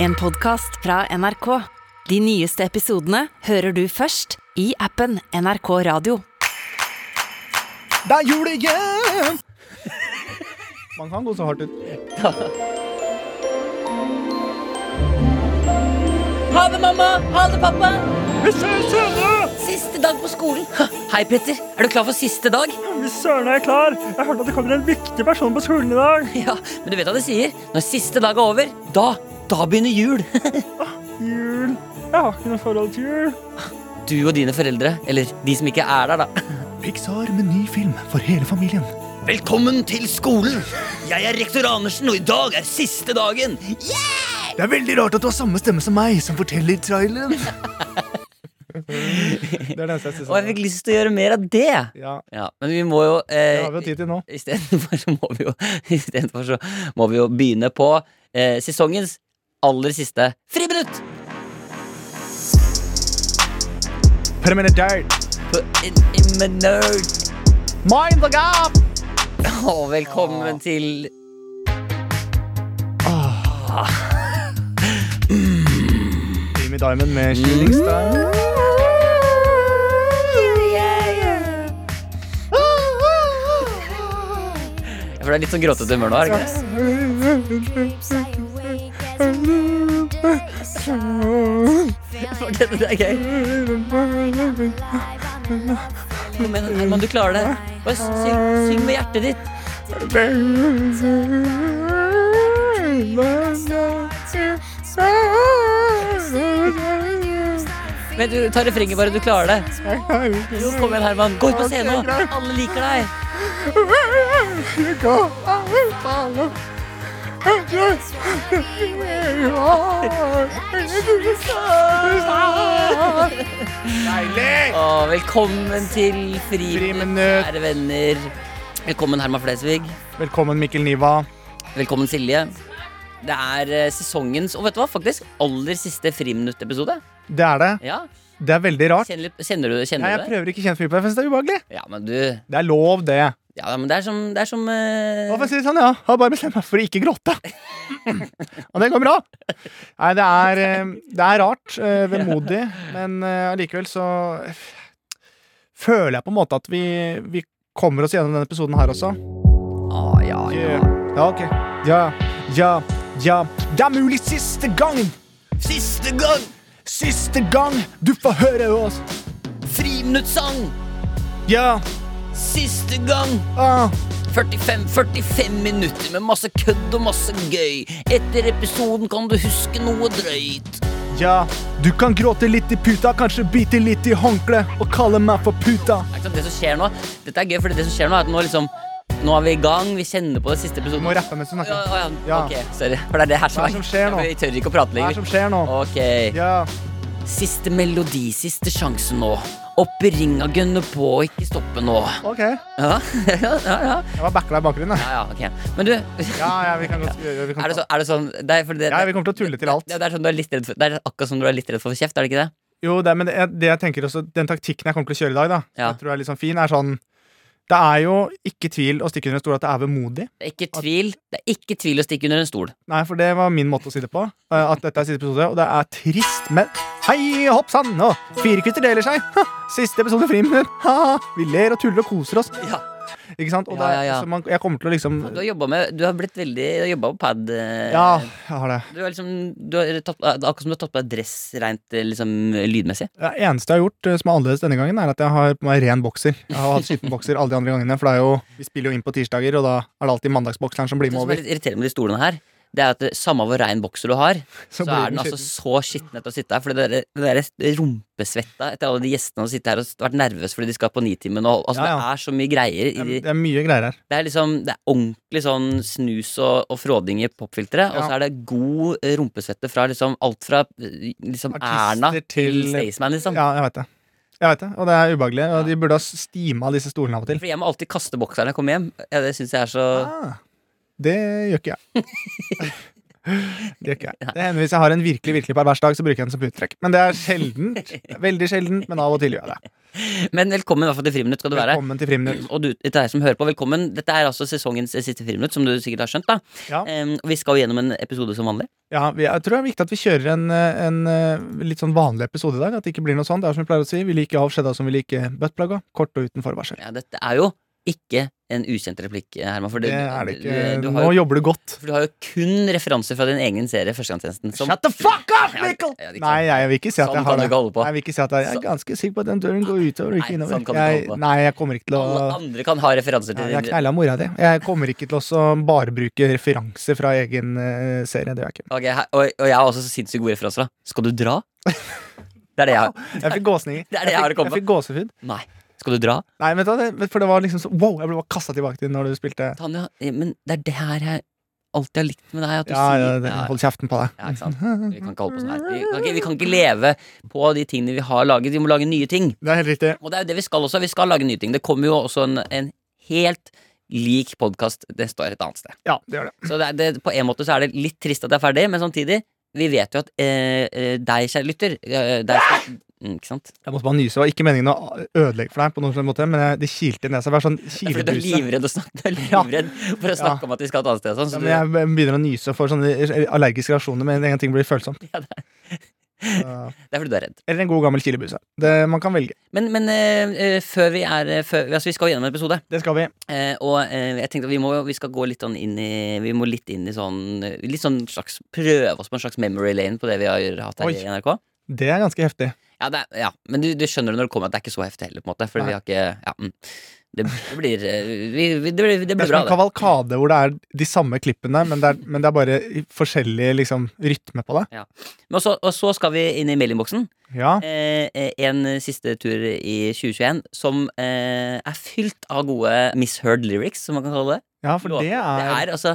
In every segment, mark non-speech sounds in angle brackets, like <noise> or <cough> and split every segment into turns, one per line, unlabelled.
En podcast fra NRK. De nyeste episodene hører du først i appen NRK Radio.
Det er jul igjen! Man kan gå så hardt ut.
Ha det, mamma! Ha det, pappa! Siste dag på skolen. Hei, Petter. Er du klar for siste dag?
Hvis søren er jeg klar! Jeg hørte at det kommer en viktig person på skolen i dag.
Ja, Men du vet hva de sier? Når siste dag er over, da da begynner jul. <laughs>
Jul. Jeg har ikke noe forhold til jul.
Du og dine foreldre, eller de som ikke er der, da. <laughs>
Pixar med ny film for hele familien.
Velkommen til skolen! Jeg er rektor Andersen, og i dag er siste dagen.
Det er veldig rart at du har samme stemme som meg, som forteller traileren. det er det eneste jeg
Og jeg fikk lyst til å gjøre mer av det.
Ja,
Ja, Men vi må jo
det
eh,
har vi jo tid til nå.
<laughs> Istedenfor så må vi jo Istedenfor så må vi jo begynne på eh, sesongens aller siste friminutt.
Permanent dirt.
På en, en minutt.
Mind the gap!
Og velkommen til
Jimmy Diamond med Kyllingstein.
For det er litt sånn gråtete humør nå. er det ikke det?
Var
<laughs> Ok, det er gøy. Kom igjen, Herman, du klarer det. Bare syng, syng med hjertet ditt. Men du tar refrenget bare. Du klarer det. Jo, kom igjen, Herman. Gå ut på scenen nå. Alle liker deg.
Deilig!
Og velkommen til
Friminutt.
Friminutt, kjære venner. Velkommen, Herman Flesvig.
Velkommen, Mikkel Niva.
Velkommen, Silje. Det er eh, sesongens, og vet du hva, faktisk aller siste Friminutt-episode.
Det er det.
Ja,
Det er veldig rart.
kjenner, litt- kjenner du,
Nei,
kjenner
jeg
du det?
prøver ikke å kjenne for mye på det, for jeg synes det er ubehagelig.
Ja, men du
Det er lov, det.
Ja, men det er som, det er som eh,
Og for å si det sånn, ja. Jeg har bare bestemt meg for å ikke gråte. Og det går bra. Nei, det er, eh, det er rart. eh, Vemodig. Men eh, allikevel så eh, føler jeg på en måte at vi, vi kommer oss gjennom denne episoden her også. eh,
ah, ja, ja.
Ja, ok. Ja, ja, ja. Det er mulig siste gangen,
Siste gang!
siste gang du får høre oss.
Friminuttsang!
Ja,
Siste gang!
ah.
45-45 minutter med masse kødd og masse gøy. Etter episoden kan du huske noe drøyt.
ja. Du kan gråte litt i puta, kanskje bite litt i håndkleet og kalle meg for puta.
Det er ikke sant, det som skjer nå Dette er gøy, for det som skjer nå, er at nå liksom Nå er vi i gang, vi kjenner på det siste
Du
episoden.
må rappe mens du
Ja,
snakker.
ja,
Ja.
Ok, sorry. For det er det her som,
Hva er det som skjer nå?
Vi tør ikke å
Hva er
prate
det
lenger.
som skjer nå?
Ok.
Ja.
Siste melodi, siste sjanse nå. Opp i ringa, gønne på, ikke stoppe nå.
Ok,
Ja, <laughs> ja, ja, ja.
jeg var backa i bakgrunnen. jeg.
Ja, ja, ok Men du, er
Ja, ja, vi kan godt gjøre vi kan
det,
ta-
så, er det sånn det er, fordi det,
Ja, vi kommer til å tulle til alt.
det, det, er sånn du er litt redd for, det er akkurat som du er litt redd for kjeft, er det ikke det?
Jo, det, men det, jeg- det jeg tenker også, Den taktikken jeg kommer til å kjøre i dag, da,
Ja.
jeg tror er litt sånn fin, er sånn Det er jo ikke tvil å stikke under en stol at det er vemodig.
Det er ikke tvil Det er ikke tvil å stikke under en stol.
Nei, for det var min måte å si det på. eh, At dette er siste episode, og det er trist, men Hei, hopp sann! Og firekutter deler seg! Ha, siste episode friminutt! Ha, ha. vi ler og tuller og koser oss.
Ja.
Ikke sant? Og
Ja,
det er-
ja, ja.
Så man, jeg kommer til å liksom
Du har jobba med Du har blitt veldig Du har jobbet på pad. eh,
Ja, jeg har det.
Du har liksom du har tatt, det er Akkurat som du har tatt på deg dress rent eh, liksom, lydmessig.
Det eneste jeg har gjort eh, som er annerledes denne gangen, er at jeg har på meg ren bokser. Jeg har hatt skitten bokser alle de andre gangene, for det er jo, vi spiller jo inn på tirsdager, og da er det alltid mandagsbokseren som blir
Det
med
som er
over.
litt irriterende med de stolene her, det er at det, samme hvor rein bokser du
<laughs>
har, så,
blir
er den altså
skitten.
så skitten etter å sitte her. For det der, det der rumpesvetta etter alle de gjestene som sitter her og vært nervøse fordi de skal på Nitimen og Altså,
Ja, ja.
det er så mye greier i de
Det er mye greier her.
Det er liksom, det er ordentlig sånn snus og, og fråding i popfilteret. Og
Ja.
så er det god eh, rumpesvette fra liksom alt fra eh, liksom
Artister
Erna til
til-
Staysman, liksom.
Ja, jeg vet det. Jeg vet det, Og det er ubehagelig. Og de burde ha stima disse stolene av og til.
For jeg må alltid kaste bokseren når jeg kommer hjem. Ja, det syns jeg er så <laughs>
Ah, det gjør ikke jeg. Det gjør ikke jeg. Det hender hvis jeg har en virkelig virkelig pervers dag, så bruker jeg den som uttrekk. Men det er sjeldent.
<laughs>
Veldig sjeldent, men av og til gjør jeg det.
Men velkommen i hvert fall til Friminutt skal du være.
Velkommen til Friminutt.
Og du, til deg som hører på, velkommen. Dette er altså sesongens siste Friminutt, som du sikkert har skjønt. da
Ja.
Em, og Vi skal jo gjennom en episode som vanlig.
Ja, vi- jeg tror det er viktig at vi kjører en, eh, en eh, litt sånn vanlig episode i dag. At det ikke blir noe sånn. Det er som vi pleier å si, vi liker av skjedda som vi liker buttplugga. Kort og uten forvarsel.
Ja, dette er jo ikke en ukjent replikk, Herman. For du,
Det er det
du,
ikke.
du,
Nå
har jo,
jobber du godt.
for du har jo kun referanser fra din egen serie, Førstegangstjenesten. som-
Shut the fuck up,
Ja,
Mikkel!
ja, det er ikke sant.
Nei, jeg vil ikke si at
Sånn
jeg har
kan du
det.
ikke holde på.
Nei, Jeg vil ikke si at jeg, jeg er ganske sikker på at den døren går utover og ikke
Nei,
innover.
sånn kan du ikke holde
jeg,
på.
nei, jeg kommer ikke til
Alle
å
andre kan ha referanser
Ja,
til
jeg
din
kneila mora di. Jeg kommer ikke til å også bare bruke referanser fra egen eh, serie. Det gjør jeg ikke.
Ok, her- og, og jeg har også så sinnssykt gode referanser. da Skal du
<laughs>
dra? Det er det jeg har.
Jeg fikk gåsninger.
Det er det jeg har å
fikk-
komme
jeg fikk gåsehud.
Nei. Skal du dra?
Nei, vet du, hva, det- for det var liksom så Wow! Jeg ble bare kasta tilbake til når du spilte
Tanja, eh, men det er det her jeg alltid har likt med deg. At du
Ja,
sier
ja, det- hold kjeften på deg. <laughs>
Ja, ikke sant? Vi kan ikke holde på sånn her. Vi kan ikke, vi kan ikke leve på de tingene vi har laget. Vi må lage nye ting.
Det er helt riktig.
Og det er jo det vi skal også. Vi skal lage nye ting. Det kommer jo også en, en helt lik podkast neste år et annet sted.
Ja, det gjør det.
Så det er, det, på en måte så er det litt trist at det er ferdig, men samtidig, vi vet jo at eh, eh, deg, kjære lytter eh, deg, skal, mm, Ikke sant?
Jeg måtte bare nyse. Det var ikke meningen å ødelegge for deg, på noen slags måte, men jeg- det kilte i nesa. Jeg var sånn
Det er Fordi du er
kilebruse.
livredd, å snakke, du er livredd for å
Ja.
snakke om at vi skal et annet sted. og Sånn,
Ja,
så
men jeg begynner å nyse og får sånne allergiske reaksjoner med en gang ting blir følsomt.
du, ja, det,
Så-
er, det er fordi du er redd.
Eller en god gammel kilebruse. Det, man kan velge.
Men, men eh, eh, før vi er eh, før, Altså, vi skal gjennom en episode.
Det skal vi.
Eh, og eh, jeg tenkte at vi, må, vi skal gå litt sånn inn i Vi må litt inn i sånn eh, Litt sånn slags Prøve oss på en slags memory lane på det vi har hatt her
Oi.
i NRK.
Det er ganske heftig.
Ja, det er, ja. Men du, du skjønner det når det kommer at det er ikke så heftig heller, på en måte. For
Nei.
vi har ikke ja, mm. det, det blir eh, vi, vi, Det blir, det
Det er
blir
som
bra,
en
det.
kavalkade hvor det er de samme klippene, men det er, men det er bare i- forskjellig liksom, rytme på det.
Men også, og så skal vi inn i meldingboksen.
Ja,
Eh, eh, en siste tur i 2021 som eh, er fylt av gode misheard lyrics, som man kan kalle det.
ja for det
Det
er
er, altså,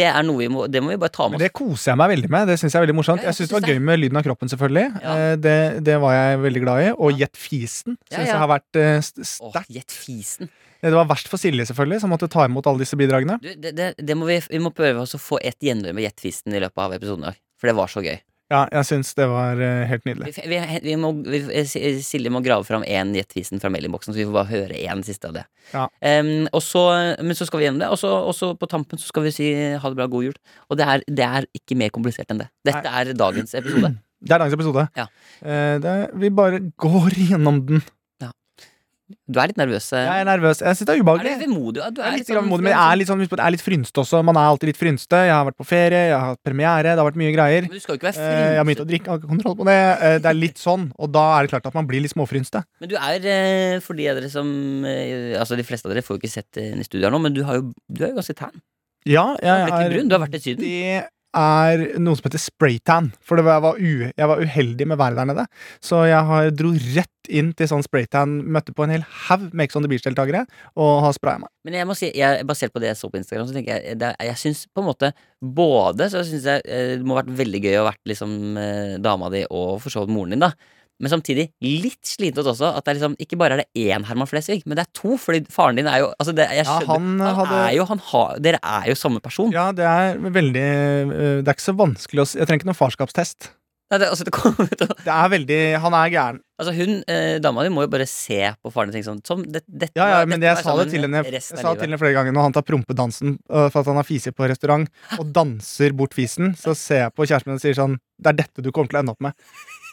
det er noe vi må Det må vi bare ta
men
med oss.
det koser jeg meg veldig med. Det synes jeg er veldig morsomt
Ja, jeg
Jeg synes det
synes
var gøy med lyden av kroppen, selvfølgelig.
Ja.
Eh, Det, det var jeg veldig glad i. Og Gjett fisen
Ja,
synes
ja.
jeg har vært eh, st-
Åh,
sterkt.
gjett fisen.
Det var verst for Silje, selvfølgelig, som måtte ta imot alle disse bidragene.
Du, det, det, det må vi, vi må prøve oss å få et gjennom med Jetfisten i løpet av episoden i dag. For det var så gøy.
Ja, jeg synes det var eh, helt nydelig.
Vi, vi, vi må, vi, eh, Silje må grave fram én Jetfisten fra meldingboksen, så vi får bare høre én siste av det.
Ja.
Em, og så, men så skal vi gjennom det, og så, og så på tampen så skal vi si ha det bra, god jul. Og det er, det er ikke mer komplisert enn det. Dette er dagens episode.
Det er dagens episode.
Ja.
Eh, det, vi bare går <laughs> gjennom den.
Du er litt nervøs. eh.
Jeg er nervøs. Jeg synes det er
er
ubehagelig.
du vemodig? Ja, Du
Jeg er litt
sånn-
grann modig, men jeg er litt, sånn, husk på at jeg er litt frynste også. Man er alltid litt frynste. Jeg har vært på ferie, jeg har hatt premiere, det har vært mye greier.
Men Du skal jo ikke
Eh,
være
Jeg har begynt å
frynset.
drikke, jeg har ikke kontroll på det. Eh, Det er litt sånn, og da er det klart at man blir litt småfrynste.
Men du er, eh, for de av dere som eh, Altså, de fleste av dere får jo ikke sett eh, henne i studio her nå, men du, har jo, du er jo ganske tan.
Ja,
Du er
jeg
ikke
er
brun, du har vært i Syden.
Det er noe som heter spraytan, for det var, jeg, var u, jeg var uheldig med været der nede. Så jeg har dro rett inn til sånn spraytan, møtte på en hel haug Makes on the Beach-deltakere, og har spraya meg.
Men jeg må si, jeg, basert på det jeg så på Instagram, så tenker jeg eh, det, er- Jeg syns på en måte både så syns jeg eh, det må ha vært veldig gøy å ha vært liksom eh, dama di og for så vidt moren din, da. Men samtidig litt slitsomt også. At det er liksom, ikke bare er det én Herman Flesvig, men det er to. Fordi faren din er jo altså det, jeg
Ja,
skjønner,
han eh, hadde-
er jo, han har, Dere er jo samme person.
Ja, det er veldig eh, Det er ikke så vanskelig å s- Jeg trenger ikke noen farskapstest.
Nei, det, altså, det kommer ut å-
Det er veldig Han er gæren.
altså hun, eh, dama di, må jo bare se på faren din og tenke sånn som, det, dette,
Ja, ja,
var-
men
dette
jeg
var
sa det
sammen
til henne Jeg
resten av
sa det
livet.
til henne flere ganger når han tar prompedansen øh, for at han har fise på restaurant, og danser bort fisen, så ser jeg på kjæresten min og sier sånn Det er dette du kommer til å ende opp med.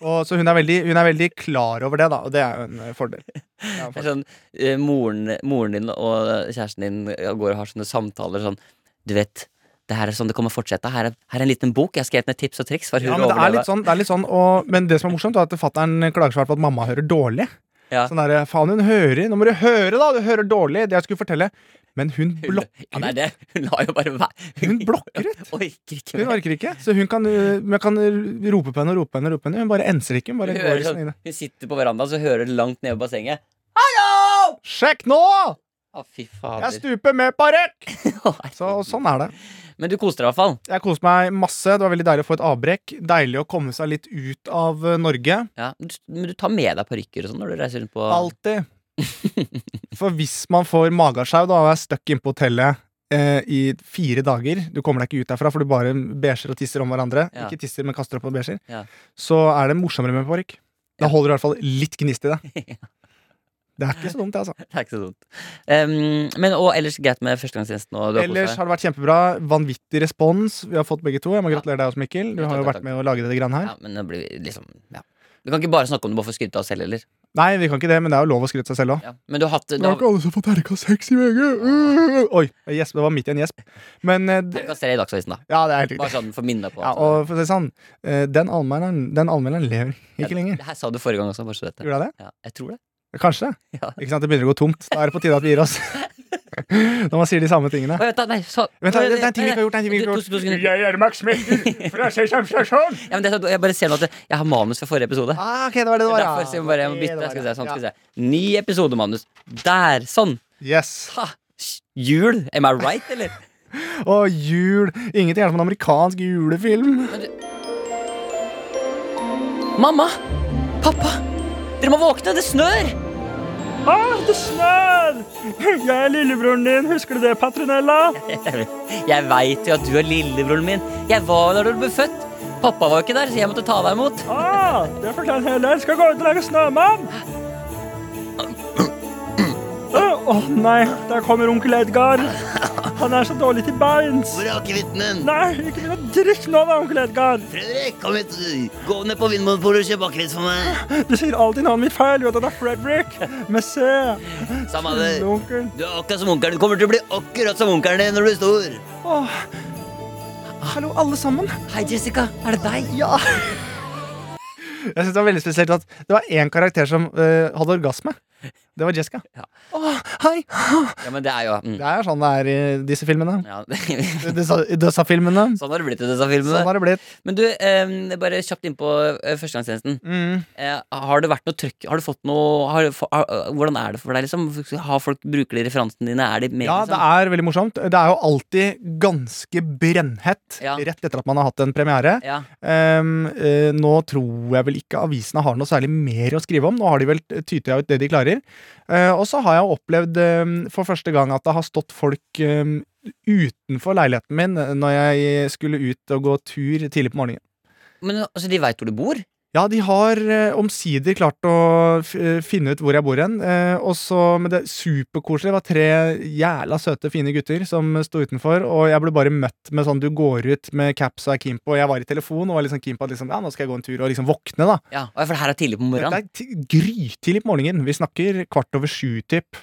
Og, så hun er, veldig, hun er veldig klar over det, da, og det er jo en øh, fordel. Det er en
Det er
fordel.
sånn, eh, moren, moren din og kjæresten din eh, går og har sånne samtaler sånn Du vet, det her er sånn det kommer fortsette. Her er, her er en liten bok. Jeg har skrevet ned tips og triks. For
Ja,
hun
men det er
overlever.
litt sånn, det er litt sånn og, Men det som er morsomt, er at fatter'n klager svært på at mamma hører dårlig.
Ja.
Sånn derre Faen, hun hører Nå må du høre, da! Du hører dårlig! Det jeg skulle fortelle. Men hun blokker
ja,
ut.
det er det. Hun lar jo bare være.
sånn- <laughs> Hun blokker ut.
orker ikke
Hun
mer.
orker ikke. Så hun kan, øh, men jeg kan rope på henne og rope på henne. og rope på henne Hun bare enser ikke. Hun
Hun,
bare
hører
går sånn i
sånn,
det.
hun sitter på verandaen, så hører hun langt nede i bassenget.
Sjekk nå!
Å, fy
Jeg
fader.
stuper med parekk! Så, og sånn er det.
Men du koser deg i hvert fall.
Jeg koste meg masse. Det var veldig deilig å få et avbrekk. Deilig å komme seg litt ut av eh, Norge.
Ja. Du, men du tar med deg parykker og sånn når du reiser rundt på
Alltid. For hvis man får magesjau da, og er stuck inne på hotellet eh, i fire dager, du kommer deg ikke ut derfra, for du bare bæsjer og tisser om hverandre,
Ja.
ikke tisser, men kaster opp og bæsjer,
Ja.
så er det morsommere med parykk. Da holder du i hvert fall litt gnist i
<laughs>
det. Det er ikke så dumt, det, altså.
Det er ikke så dumt. Um, men og ellers greit med førstegangstjenesten og du har kost
Ellers
deg?
har det vært kjempebra. Vanvittig respons. Vi har fått begge to. Jeg må
Ja.
gratulere deg også, Mikkel. Du
Ja,
har jo
takk,
vært
takk.
med å lage dette grann her.
Ja, men det blir liksom ja. Du kan ikke bare snakke om det bare for å skryte av oss selv heller.
Nei, vi kan ikke det, men det er jo lov å skryte seg selv òg.
Ja. Men du har hatt du
Det var
har,
ikke alle som får terningkast seks i VG! Uh! Oi, jeg gjesp, det var midt i en gjesp. Men eh, det,
Terningkast tre i Dagsavisen, da.
Ja, det er helt
Bare
riktig.
sånn for å minne deg på
Ja,
at-
og for å si det sånn, eh, den allmenneren den allmenneren lever ikke lenger.
Det her sa du forrige gang også, bare så du vet det.
Gjorde jeg det?
Ja, jeg tror det.
Kanskje.
Ja.
Ikke sant, Det begynner å gå tomt. Da er det på tide at vi gir
<laughs>
oss. Når man sier de samme tingene.
Å, vent, da, nei, så,
Vent, da, det er en ting vi ikke har gjort. Det er en ting vi ikke
To-
har
to- to
gjort.
sekunder.
Jeg er Max Mikkel fra Sesam Stasjon.
Ja, men det, er sånn- jeg bare ser nå at jeg, jeg har manus fra forrige episode.
Ah, ok, det var det det var, ja.
Derfor så jeg må bare, jeg må
Ok,
bytte.
det var
Skal vi
det.
se, sånn, skal
Ja.
vi se. Ny episodemanus. Der! Sånn!
Yes.
Ha! Sj, Jul! Am I right, eller?
Og jul. Ingenting er som en amerikansk julefilm.
Mamma! Pappa! Dere må våkne! Det snør!
Ah, det snør! Jeg er lillebroren din. Husker du det, Patronella?
Jeg veit jo at du er lillebroren min. Jeg var der da du ble født. Pappa var jo ikke der, så jeg måtte ta deg imot.
Ah, det fortjener heller. Skal gå ut og lage snømann. Å åh, nei, der kommer onkel Edgar. Han er så dårlig til beins.
Hvor er akevitten min?
Nei, ikke begynn å drikke nå, da, onkel Edgar.
Fredrik, kom hit. Gå ned på Vinmonopolet og kjøp akevitt for meg.
Du sier alltid navnet mitt feil. Vet du, det er Fredrik med C.
Samme det.
Lille Onkel.
Du er akkurat som onkelen. Du kommer til å bli akkurat som onkelen din når du blir stor.
Åh. Hallo, alle sammen.
Hei, Jessica. Er det deg?
Ja. Jeg synes Det var veldig spesielt at det var én karakter som eh, hadde orgasme. Det var Jessica.
Ja.
Åh, hei!
Ja, men det er jo mm.
Det er sånn det er i disse filmene.
ja. <laughs>
Disse, disse filmene.
Sånn har det blitt i disse filmene.
Sånn har det blitt.
Men du, eh, bare kjapt innpå eh, førstegangstjenesten.
Mm.
Eh, har det vært noe trøkk? Har du fått noe har, du få- har, Hvordan er det for deg, liksom? Har folk, bruker de referansene dine? Er de med,
Ja, det
liksom?
er veldig morsomt. Det er jo alltid ganske brennhett
Ja.
rett etter at man har hatt en premiere.
Ja.
Ehm, eh, nå tror jeg vel ikke avisene har noe særlig mer å skrive om. Nå har de vel tyta ut det de klarer. Eh, og så har jeg opplevd eh, for første gang at det har stått folk eh, utenfor leiligheten min eh, når jeg skulle ut og gå tur tidlig på morgenen.
Men altså, de veit hvor du bor?
Ja, de har eh, omsider klart å f eh, finne ut hvor jeg bor hen. Eh, og så, men det er superkoselig. Det var tre jævla søte, fine gutter som sto utenfor. Og jeg ble bare møtt med sånn du går ut med caps og er keen på. Og jeg var i telefon og var liksom keen på at liksom, ja, nå skal jeg gå en tur og liksom våkne, da.
Ja, og For det her er tidlig
Dette
på
er
morgenen.
ti- grytidlig på morgenen. Vi snakker kvart over sju-typ.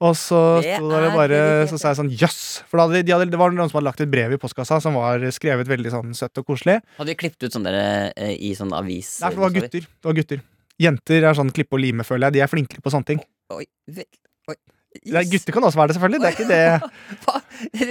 Og så
Det
sto dere
er
bare
tidlig.
Så sa jeg sånn jøss! For da hadde, de hadde, det var noen som hadde lagt et brev i postkassa som var skrevet veldig sånn søtt og koselig.
Hadde de klippet ut sånn der eh, i sånn avis?
Nei, for det var gutter. Det var gutter. Jenter er sånn klippe og lime, føler jeg. De er flinkere på sånne ting.
Oi, vel, oi.
Nei, gutter kan også være det, selvfølgelig. Det er
<laughs>
ikke det.
Hva? Jeg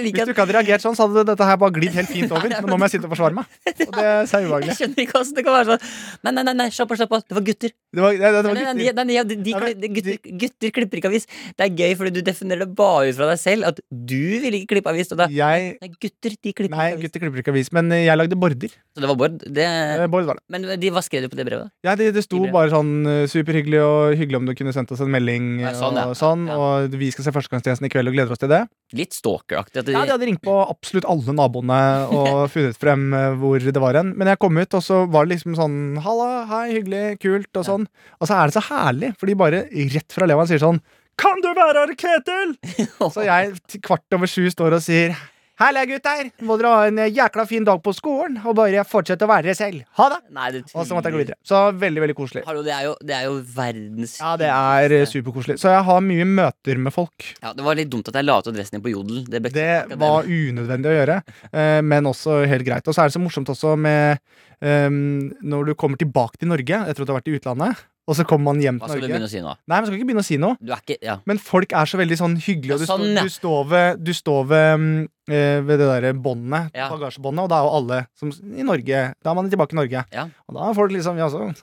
Hvis
liker
du
at
ikke hadde reagert sånn, så hadde dette her bare glidd helt fint over. Men nå må jeg sitte og
<laughs>
forsvare meg. Og det er
jeg
ubehagelig.
skjønner ikke hvordan det kan være sånn. Nei, nei, nei, nei slapp av, slapp av. Det var gutter.
Det var, det, det
Nei,
var
nei, nei,
gutter.
nei, nei, de, de,
Ja, men
de, gutter, gutter klipper ikke avis. Det er gøy, fordi du definerer det bare ut fra deg selv. At du ville ikke klippe avis. Og da,
Jeg
nei, gutter, de klipper
Nei,
ikke avis.
gutter klipper ikke avis, men jeg lagde border.
Så det var Bård. Det,
Eh, Bård var det.
men de, hva skrev du på det brevet?
Ja, det, det sto
I brev.
bare sånn eh, superhyggelig og hyggelig om du kunne sendt oss en melding.
Ja, sånn, ja.
Og sånn,
Ja.
og vi skal se Førstegangstjenesten i kveld og gleder oss til det.
Litt stalkeraktig. at du-
Ja, De hadde ringt på absolutt alle naboene og funnet frem eh, hvor det var hen. Men jeg kom ut, og så var det liksom sånn Halla, hei, hyggelig, kult, og sånn. Og så er det så herlig, for de bare rett fra leveren sier sånn.
Kan du være her, Ketil?
Så jeg til kvart over sju står og sier Herlig, gutter! Må dere ha en eh, jækla fin dag på skolen, og bare fortsette å være dere selv. Ha det!
Nei, det
Og så måtte jeg gå videre. Så veldig, veldig koselig.
Hallo, det er jo, det er jo verdens
Ja, det er eh, superkoselig. Så jeg har mye møter med folk.
Ja, Det var litt dumt at jeg la ut adressen din på Jodel. Det, ble-
Det var unødvendig å gjøre, eh, men også helt greit. Og så er det så morsomt også med ehm, når du kommer tilbake til Norge etter at du har vært i utlandet, og så kommer man hjem
Hva
til
skal du
Norge.
begynne å si nå?
Nei, man skal ikke begynne å si noe,
Du er ikke Ja.
men folk er så veldig sånn hyggelige, og du,
Ja, sånn,
står,
ja.
du står ved, du står ved, mm, eh, ved det derre båndet,
Ja.
bagasjebåndet, og da er jo alle som i Norge Da er man tilbake i Norge.
Ja.
<laughs> Og da er folk liksom Ja, så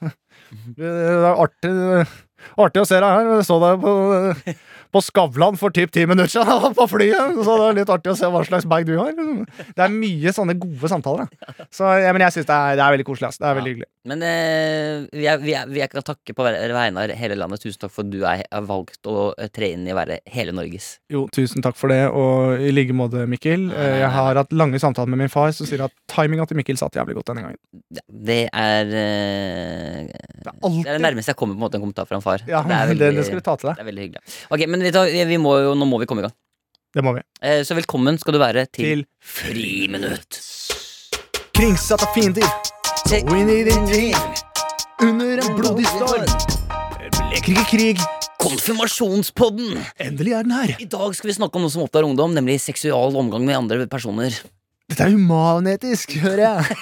Det er artig. Artig å se deg her. Jeg så deg på, eh, på Skavlan for typ ti minutter siden <laughs> på flyet. Så det er litt artig å se hva slags bag du har. Det er mye sånne gode samtaler.
<laughs>
Da. Så, ja, men jeg syns det, er- det er veldig koselig. ass. Det er
Ja.
veldig hyggelig.
Men eh, vi, er, vi, er, vi er kan takke på hver- vegne av hele landet. Tusen takk for at du er, har valgt å eh, tre inn i å være hele Norges.
Jo, tusen takk for det, og i like måte, Mikkel. Eh, Jeg har hatt lange samtaler med min far, som sier at timinga til Mikkel satt jævlig godt denne gangen.
Ja, Det er
Det er
eh, Det er det
alltid
nærmeste jeg kommer på en måte en kommentar fra en far.
ja,
det, er
<laughs> det, det skal du
veldig,
ta til deg.
det er veldig hyggelig. Ok, men vet du, hva, vi må jo, nå må vi komme i gang.
Det må vi.
Eh, Så velkommen skal du være
Til
til, Friminutt.
kringsatt av fiender. Og inn i din liv. Under en blodig storm. Leker ikke krig.
Konfirmasjonspodden!
Endelig er den her.
I dag skal vi snakke om noe som opptar ungdom, nemlig seksual omgang med andre personer.
Dette er humanetisk, hører
<laughs>
jeg.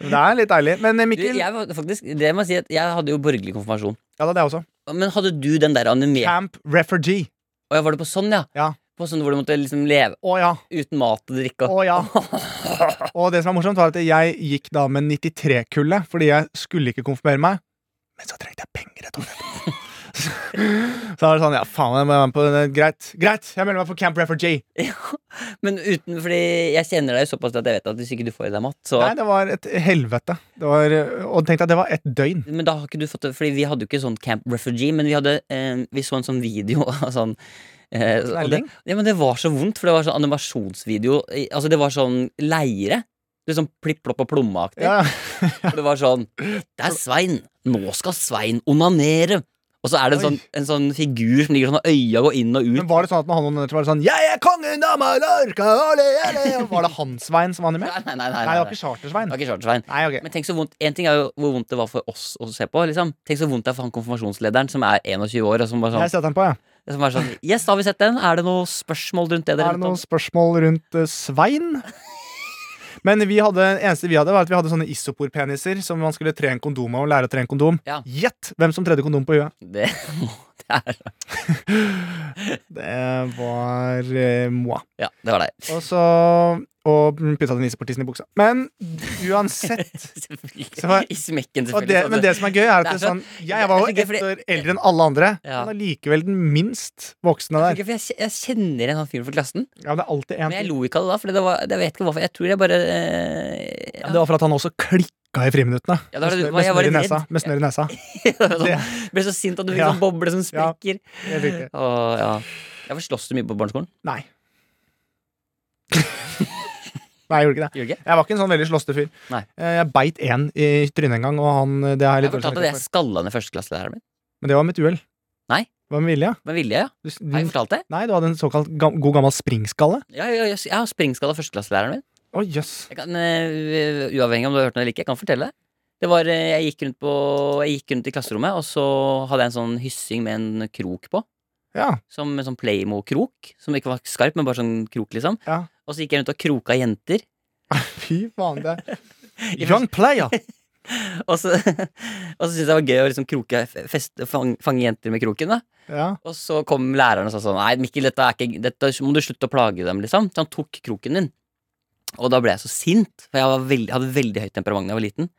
det er litt deilig. Men eh,
Du,
Mikkel
jeg, var faktisk, det må jeg si at jeg hadde jo borgerlig konfirmasjon.
Ja, da, det er også.
Men hadde du den der animerte
Camp Refugee.
Og jeg var det på sånn, ja?
Ja.
På sånn hvor du måtte liksom leve
Å ja.
uten mat og drikke
Å
og <laughs>
ja. Og det som er morsomt, var at jeg gikk da med 93-kullet, fordi jeg skulle ikke konfirmere meg. Men så trengte jeg penger et år etterpå.
<laughs>
Så så da var det sånn, ja, faen, jeg må være med på det. Greit, greit, jeg melder meg på Camp Refugee.
Men uten, fordi jeg kjenner deg jo såpass at jeg vet at hvis ikke du får i deg mat, så
Nei, det var et helvete. Det var, og tenk deg, at det var et døgn.
Men da har ikke du fått det Fordi vi hadde jo ikke sånn Camp Refugee, men vi, hadde, eh, vi så en sånn video <laughs> av sånn eh, og det,
Knalling?
ja, men det var så vondt, for det var sånn animasjonsvideo i- Altså, det var sånn leire. Det er sånn plipp-plopp og plommeaktig.
Ja,
Og Det var sånn Det er Svein! Nå skal Svein onanere! Og så er det en
Oi.
sånn, en sånn figur som ligger sånn og øya går inn og ut.
men var det sånn at når han onanerte, var det sånn Jeg er kongen av Mallorca! Ole, ole! Var det Hans-Svein som var animert?
Nei, nei, nei. nei,
Nei, det
nei,
var
nei.
ikke Charter-Svein.
Det var ikke Charter Svein.
Nei, ok.
Men tenk så vondt En ting er jo hvor vondt det var for oss å se på. Liksom. Tenk så vondt det er for han konfirmasjonslederen som er 21 år. Og som bare sånn,
Jeg setter den på, ja.
Som er sånn Yes, da har vi sett den. Er det noe spørsmål rundt det? dere
Er det
vet om?»
noen spørsmål rundt eh, Svein? Men vi hadde, eneste vi hadde, var at vi hadde sånne isoporpeniser som man skulle tre en kondom av og lære å tre en kondom.
Ja.
Gjett hvem som tredde kondom
<laughs>
på huet!
Det, det er
Det var eh, Moa.
Ja, det var deg.
Og så Og putta den isoportissen i buksa. Men uansett Så var-
<laughs> Selvfølgelig. I smekken,
og det,
selvfølgelig.
Men det som er gøy, er at det
Det er
er
så-
sånn, jeg var jo
det er
ett
så gøy,
år eldre enn alle andre,
Ja.
men allikevel den minst voksne
Jeg,
der.
for jeg, kje- jeg kjenner igjen han fyren fra klassen,
Ja, men det er alltid en
men jeg
til.
lo ikke av det da. For det var, jeg vet ikke hvorfor Jeg tror jeg bare eh,
Ja, men Det var for at han også klikka i friminuttene.
Ja, da
Med
var
snørr-
det- var-
med
jeg var
snørr i
litt
nesa.
redd.
Med
<laughs>
snørr i nesa.
sånn, Ble så sint at du fikk
Ja.
sånn boble som
Ja.
sprekker.
Helt riktig.
Åh, ja. Jeg var Sloss du mye på barneskolen?
Nei. Nei, jeg gjorde ikke det.
Gjorde ikke?
Jeg var ikke en sånn veldig slåste fyr.
Nei.
Eh, Jeg beit én i trynet en gang, og han eh, det har jeg
Jeg
litt dårlig
fortalte at
samvittighet
jeg
for.
skalla ned førsteklasselæreren min.
Men det var mitt uhell.
Nei.
Det var med vilje.
Med vilje, ja.
Du, s-
Har jeg
du,
fortalt det?
nei, du hadde en såkalt gam, god gammel springskalle.
Ja, ja, ja, jeg har springskalla førsteklasselæreren min.
Å, jøss.
Jeg kan, eh, uavhengig om du har hørt den eller ikke, jeg kan fortelle det. Det var, eh, jeg, gikk rundt på, jeg gikk rundt i klasserommet, og så hadde jeg en sånn hyssing med en krok på.
Ja.
Som en sånn Playmo-krok. Som ikke var skarp, men bare sånn krok, liksom.
Ja.
Og så gikk jeg rundt og kroka jenter. <laughs>
Fy faen, det Young
<laughs>
player!
Og så, <laughs> og så syntes jeg det var gøy å liksom kroke, fest, fang, fange jenter med kroken. da
Ja.
Og så kom læreren og sa sånn Nei, Mikkel, dette, er ikke, dette må du slutte å plage dem, liksom. Så han tok kroken din. Og da ble jeg så sint, for jeg var veldig, hadde veldig høyt temperament da jeg var liten.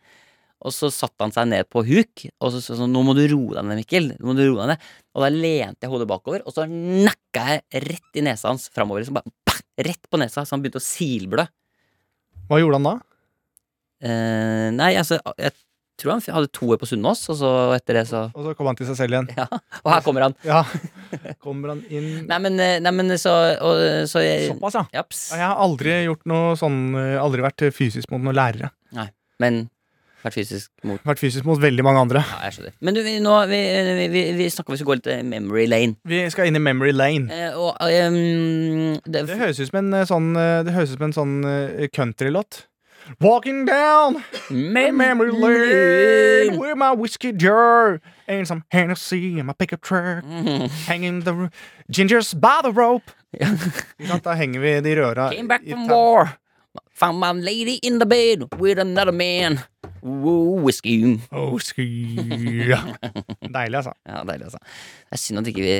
Og så satte han seg ned på huk og så sa sånn Nå må du roe deg ned, Mikkel. Nå må du roe deg ned. Og da lente jeg hodet bakover, og så nakka jeg rett i nesa hans framover. Liksom bare bang, rett på nesa, så han begynte å silblø.
Hva gjorde han da?
Eh, nei, altså, jeg tror han f- hadde to år på Sunnaas, og så etter det så
Og så kom han til seg selv igjen.
Ja. Og her kommer han.
Ja. Kommer han inn
Nei, men, eh, nei, men så, og, så jeg,
Såpass, ja.
Japs.
Ja, Jeg har aldri gjort noe sånn eh, Aldri vært fysisk mot noen lærere.
Men vært fysisk mot
Vært fysisk mot veldig mange andre.
Ja, jeg skjønner. Men du, vi, nå, vi, vi, vi, vi snakka om vi skulle gå litt eh, memory lane.
Vi skal inn i memory lane.
Eh, og ehm, det,
Det høres ut som en eh, sånn, eh, det høres ut som en sånn eh, countrylåt. Walking down
Mem-
memory lane with my whiskey jar and some Hennessy in my pickup truck.
Mhm.
Hanging the ro- gingers by the rope. Ikke sant? Da henger vi de røra
<laughs> Came back
i
from
tau.
war. Found my lady in the bed with another man. Woo, whiskey.
Oh, sky. Deilig, altså.
Ja, deilig, altså. Det er synd at ikke vi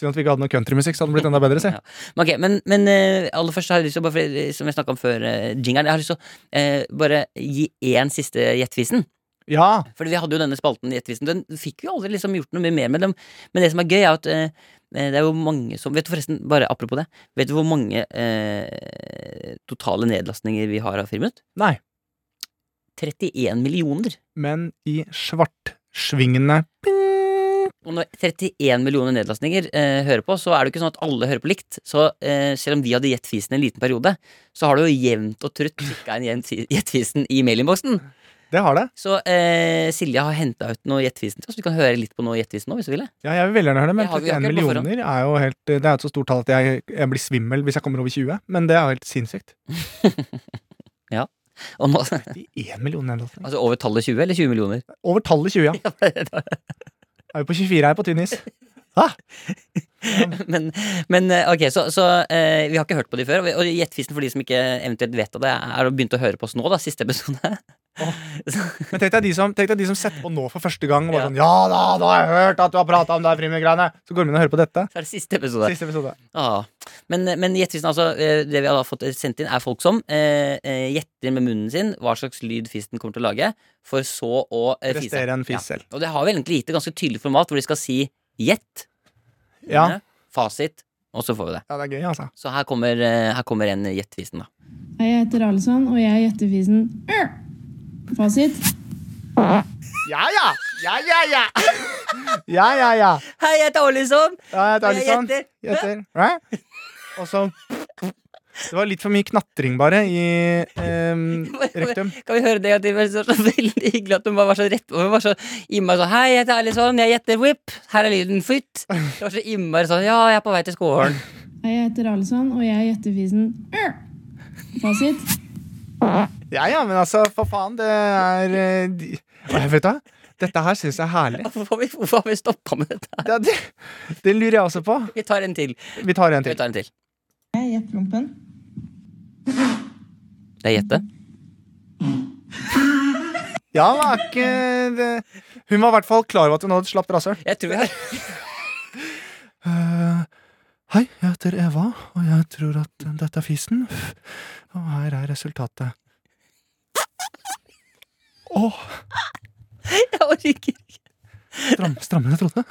Synd at vi ikke hadde noe countrymusikk, så hadde det blitt enda bedre. Se.
Ja. Men, ok, men, men eh, aller først så har jeg lyst til å bare eh, fordi, Som jeg snakka om før uh, jingeren, jeg har lyst til å eh, bare gi én siste gjettvisen.
Ja,
Fordi vi hadde jo denne spalten i Ettervisen. Den fikk jo aldri liksom gjort noe mye mer med dem. Men det som er gøy, er at eh, det er jo mange som Vet du forresten, bare apropos det, vet du hvor mange eh, totale nedlastninger vi har av Friminutt?
nei.
31 millioner.
Men i svartsvingende
Og når 31 millioner nedlastninger eh, hører på, så er det jo ikke sånn at alle hører på likt. Så eh, selv om vi hadde gjett fisen en liten periode, så har det jo jevnt og trutt trykka inn gjent- gjett fisen i mailinnboksen.
Det har det.
Så eh, Silje har henta ut noe gjett fisen til oss. Vi kan høre litt på noe gjett fisen nå, hvis du vil. det.
Ja, jeg vil veldig gjerne høre det, men
Det har vi
31
akkurat på forhånd.
millioner er jo helt Det er jo et så stort tall at jeg, jeg blir svimmel hvis jeg kommer over 20, men det er jo helt sinnssykt.
Og nå,
31 millioner nedlastninger.
altså over tallet 20, eller 20 millioner? <laughs>
Over tallet 20, <laughs> ja. Er vi på 24 her på tynn is?
men, men eh, ok, så, så eh, vi har ikke hørt på de før. og vi- Og Gjettfisen for de som ikke eventuelt vet av det, er å begynte å høre på oss nå, da, siste episode. <laughs>
Men tenk deg de som, tenk deg de som setter på nå for første gang og bare sånn Ja da, da har jeg hørt at du har prata om det frimurgreiene! Så går de inn og hører på dette.
Så er det siste episode.
Siste episode.
Ah. Men, men gjettfisen, altså, eh, det vi har da fått sendt inn, er folk som eh, eh, gjetter med munnen sin hva slags lyd fisten kommer til å lage, for så å eh, fise.
Prestere en fis selv.
Ja. Og det har vi egentlig gitt et ganske tydelig format, hvor de skal si gjett,
Ja.
fasit, og så får vi det.
ja, det er gøy, altså.
Så her kommer, eh, her kommer en gjettfisen, da.
Hei, jeg heter Alison, og jeg gjetter fisen. Ør! Fasit.
Ja ja! Ja ja ja! <laughs> Ja ja ja.
Hei, jeg heter Olison!
ja jeg tar litt sånn.
Jeg
Gjetter. Hæ? Og så Det var litt for mye knatring, bare, i <laughs> ehm, rektum.
Kan vi høre det? at Det var så, så veldig hyggelig at hun bare var så rett Hun var så innmari sånn Hei, jeg heter Alison, jeg gjetter whip. Her er lyden fytt. Det var så innmari sånn Ja, jeg er på vei til
<laughs>
skolen.
Hei, jeg heter Alison, og jeg gjetter fisen. Ør! Fasit.
Ja ja, men altså, for faen, det er eh, de- Hva, Vet du hva? Dette her syns jeg er herlig.
Hvorfor har vi, hvorfor har vi stoppa med dette? her?
Det, det, det lurer jeg også på.
Vi tar en til.
Vi tar en
Vi
til.
tar en til.
Jeg gjetter rumpen.
Det er gjette.
Ja, det var ikke det. Hun var i hvert fall klar over at hun hadde et slapt rasshøl. Eh,
Jeg <laughs> tror vi har
Hei, jeg heter Eva, og jeg tror at dette er fisen. Og her er resultatet. Å,
Jeg orker ikke.
stram, strammere enn jeg trodde.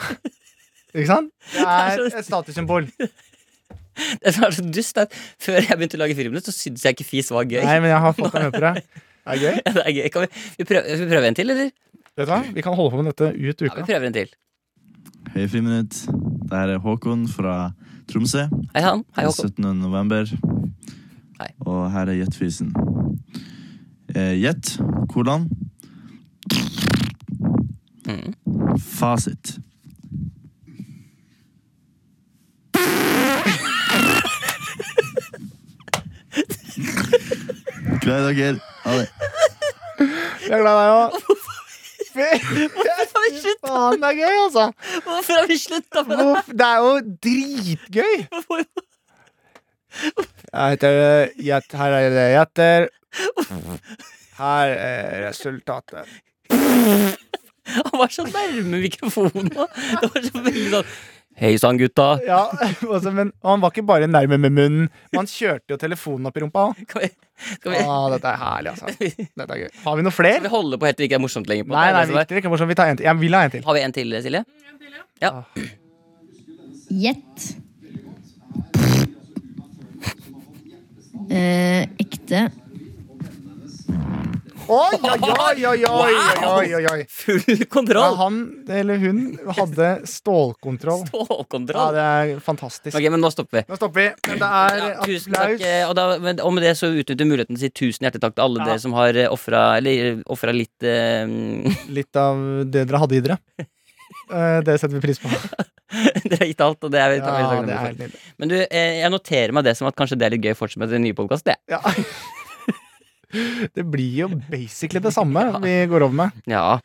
Ikke sant? Det er et statussymbol.
Det som er så dust, er at før jeg begynte å lage Friminutt, så syntes jeg ikke fis var gøy.
Nei, men jeg har fått deg med på det. Det er gøy.
Ja, <laughs> Det er gøy. Kan vi, vi, prøve, skal vi prøve en til, eller?
Vet du hva? Vi kan holde på med dette ut
Ja, vi
uka.
prøver en til.
Hei, Friminutt. Det her er Håkon fra Tromsø.
Hei sann. Hei, Håkon.
17. november.
Hei.
Og her er Gjettfisen. Eh, Gjett hvordan
Mm.
Fasit.
<laughs>
Gleder dere. Ha det.
Jeg er glad i deg òg.
Hvorfor har vi slutt-
Faen, det er gøy, altså.
Hvorfor har vi slutta med det?
Hvorf- Det er jo dritgøy! Jeg heter Gjett, her er det jeg gjetter. Her er resultatet.
<laughs> Han var så nærme mikrofonen. da. Det var så veldig sånn Hei sann, gutta.
Ja, altså, men og han var ikke bare nærme med munnen. Man kjørte jo telefonen opp i rumpa òg.
Skal vi, skal vi,
Ah, dette er herlig, altså. Dette er gøy. Har vi noe flere?
skal vi holde på helt til det ikke er morsomt lenger? På
Nei, nei, vi,
det? Det som er-
det er ikke morsomt. vi tar en til. Jeg vil ha en til.
Har vi en til, Silje?
Gjett. Eh, ekte.
Oi, oi, oi, oi, oi, oi, oi, oi.
Full
Ja,
kontroll!
han, eller hun, hadde stålkontroll. Ja,
Ståkontroll.
det er fantastisk.
Ok, men nå stopper vi.
Nå stopper vi. Men det er
Ja, tusen takk,
applaus.
eh, og, da, men, og med det så utnytter vi muligheten til å si tusen hjertelig takk til alle
Ja.
dere som har eh, ofra Eller eh, ofra litt eh, <laughs>
litt av det dere hadde i dere. Eh, Det setter vi pris
<laughs>
på.
Dere har gitt alt, og det er vi
Ja, det
veldig
er helt
takknemlige for.
nydelig.
Men du, eh, jeg noterer meg det som at kanskje det er litt gøy å fortsette med den nye podkasten.
Ja. <laughs> Det blir jo basically det samme vi går over med.
Ja.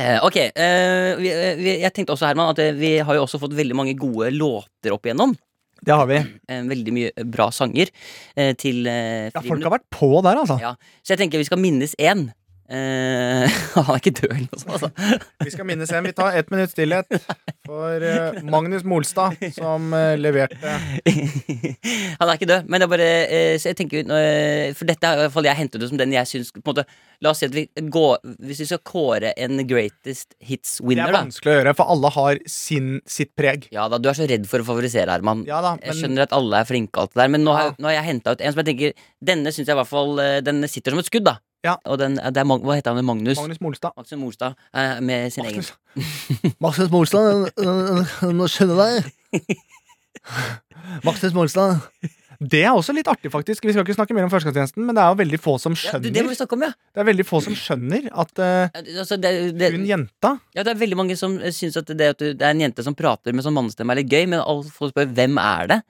Eh, ok. Eh, vi, eh, vi, jeg tenkte også, Herman, at eh, vi har jo også fått veldig mange gode låter opp igjennom.
Det har vi.
Eh, veldig mye eh, bra sanger eh, til eh,
Ja, folk
friminutt.
har vært på der, altså.
Ja. Så jeg tenker vi skal minnes én. Eh, <laughs> han er ikke død eller noe sånt, altså. <laughs>
Vi skal minnes en. Vi tar ett minutts stillhet for for eh, Magnus Molstad, som eh, leverte
Han er ikke død, men det er bare eh, så jeg tenker, eh, For dette er i hvert fall jeg hentet ut som den jeg syns på en måte, La oss si at vi går Hvis vi skal kåre en greatest hits
Det er
winner, da.
vanskelig å gjøre, for alle har sin, sitt preg.
Ja da, Du er så redd for å favorisere, Herman.
Ja da,
Jeg
men
skjønner at alle er flinke, og alt det der men nå har,
Ja.
nå har jeg henta ut en som jeg tenker Denne synes jeg i hvert fall eh, Den sitter som et skudd, da.
Ja.
Og den, eh, det er, Mag- hva heter han? Magnus? Magnus.
Magnus Molstad
Morstad. eh, Med sin egen
Magnus, Magnus Molstad, jeg må skjønne deg.
<laughs>
Magnus Molstad. Det er også litt artig, faktisk. Vi skal ikke snakke mer om førstegangstjenesten, men det er jo veldig få som
ja, du,
skjønner
Det må vi snakke om, ja!
Det er veldig få som skjønner at eh,
Eh, Altså, det, det,
hun jenta
ja, det er veldig mange som eh, syns at det, at du, det er en jente som prater med sånn mannestemme, er litt gøy, men alle folk spør hvem er det?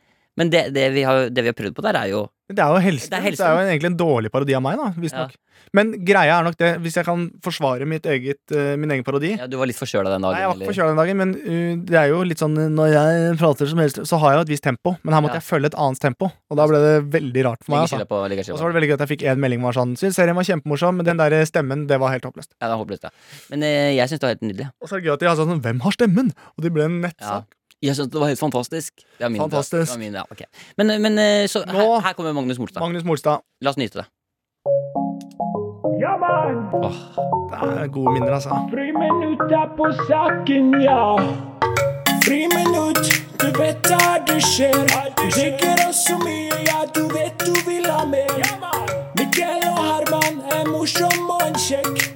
Men det, det, vi har, det vi har prøvd på der, er jo
Det er jo Hellstrøm.
Det
så
er
Det
Hellstrøm.
er jo egentlig en dårlig parodi av meg, da. Visstnok. Men greia er nok det, hvis jeg kan forsvare mitt eget, eh, min egen parodi.
Ja, du var litt forkjøla den dagen.
Nei, jeg var ikke
eller?
forkjøla den dagen, men uh, det er jo litt sånn uh, når jeg prater som helst, så har jeg jo et visst tempo, men her måtte
Ja.
jeg følge et annet tempo, og da ble det veldig rart for meg.
Legger
Altså.
skylda på, legger
Og så
skylda
var
på.
det veldig gøy at jeg fikk én melding som var sånn Syns serien var kjempemorsom, men den der eh, stemmen, det var helt håpløst.
Ja, det er håpløst, ja. Men eh, jeg syns det var helt nydelig.
Og så er det gøy at de har sånn Hvem har stemmen? Og det ble en
Ja.
nettsak.
Jeg synes det var helt fantastisk. Det var min,
Fantastisk.
Det var min, ja, ok. Men, men eh, så,
Nå-
her, her kommer Magnus Molstad.
Magnus Molstad.
La oss nyte det.
Ja, mann!
Det er gode minner, altså.
Friminutt er på saken, ja. Friminutt, du vet da det skjer. Du drikker oss så mye, ja, du vet du vil ha mer. Mikkel og Herman er morsom og en kjekk.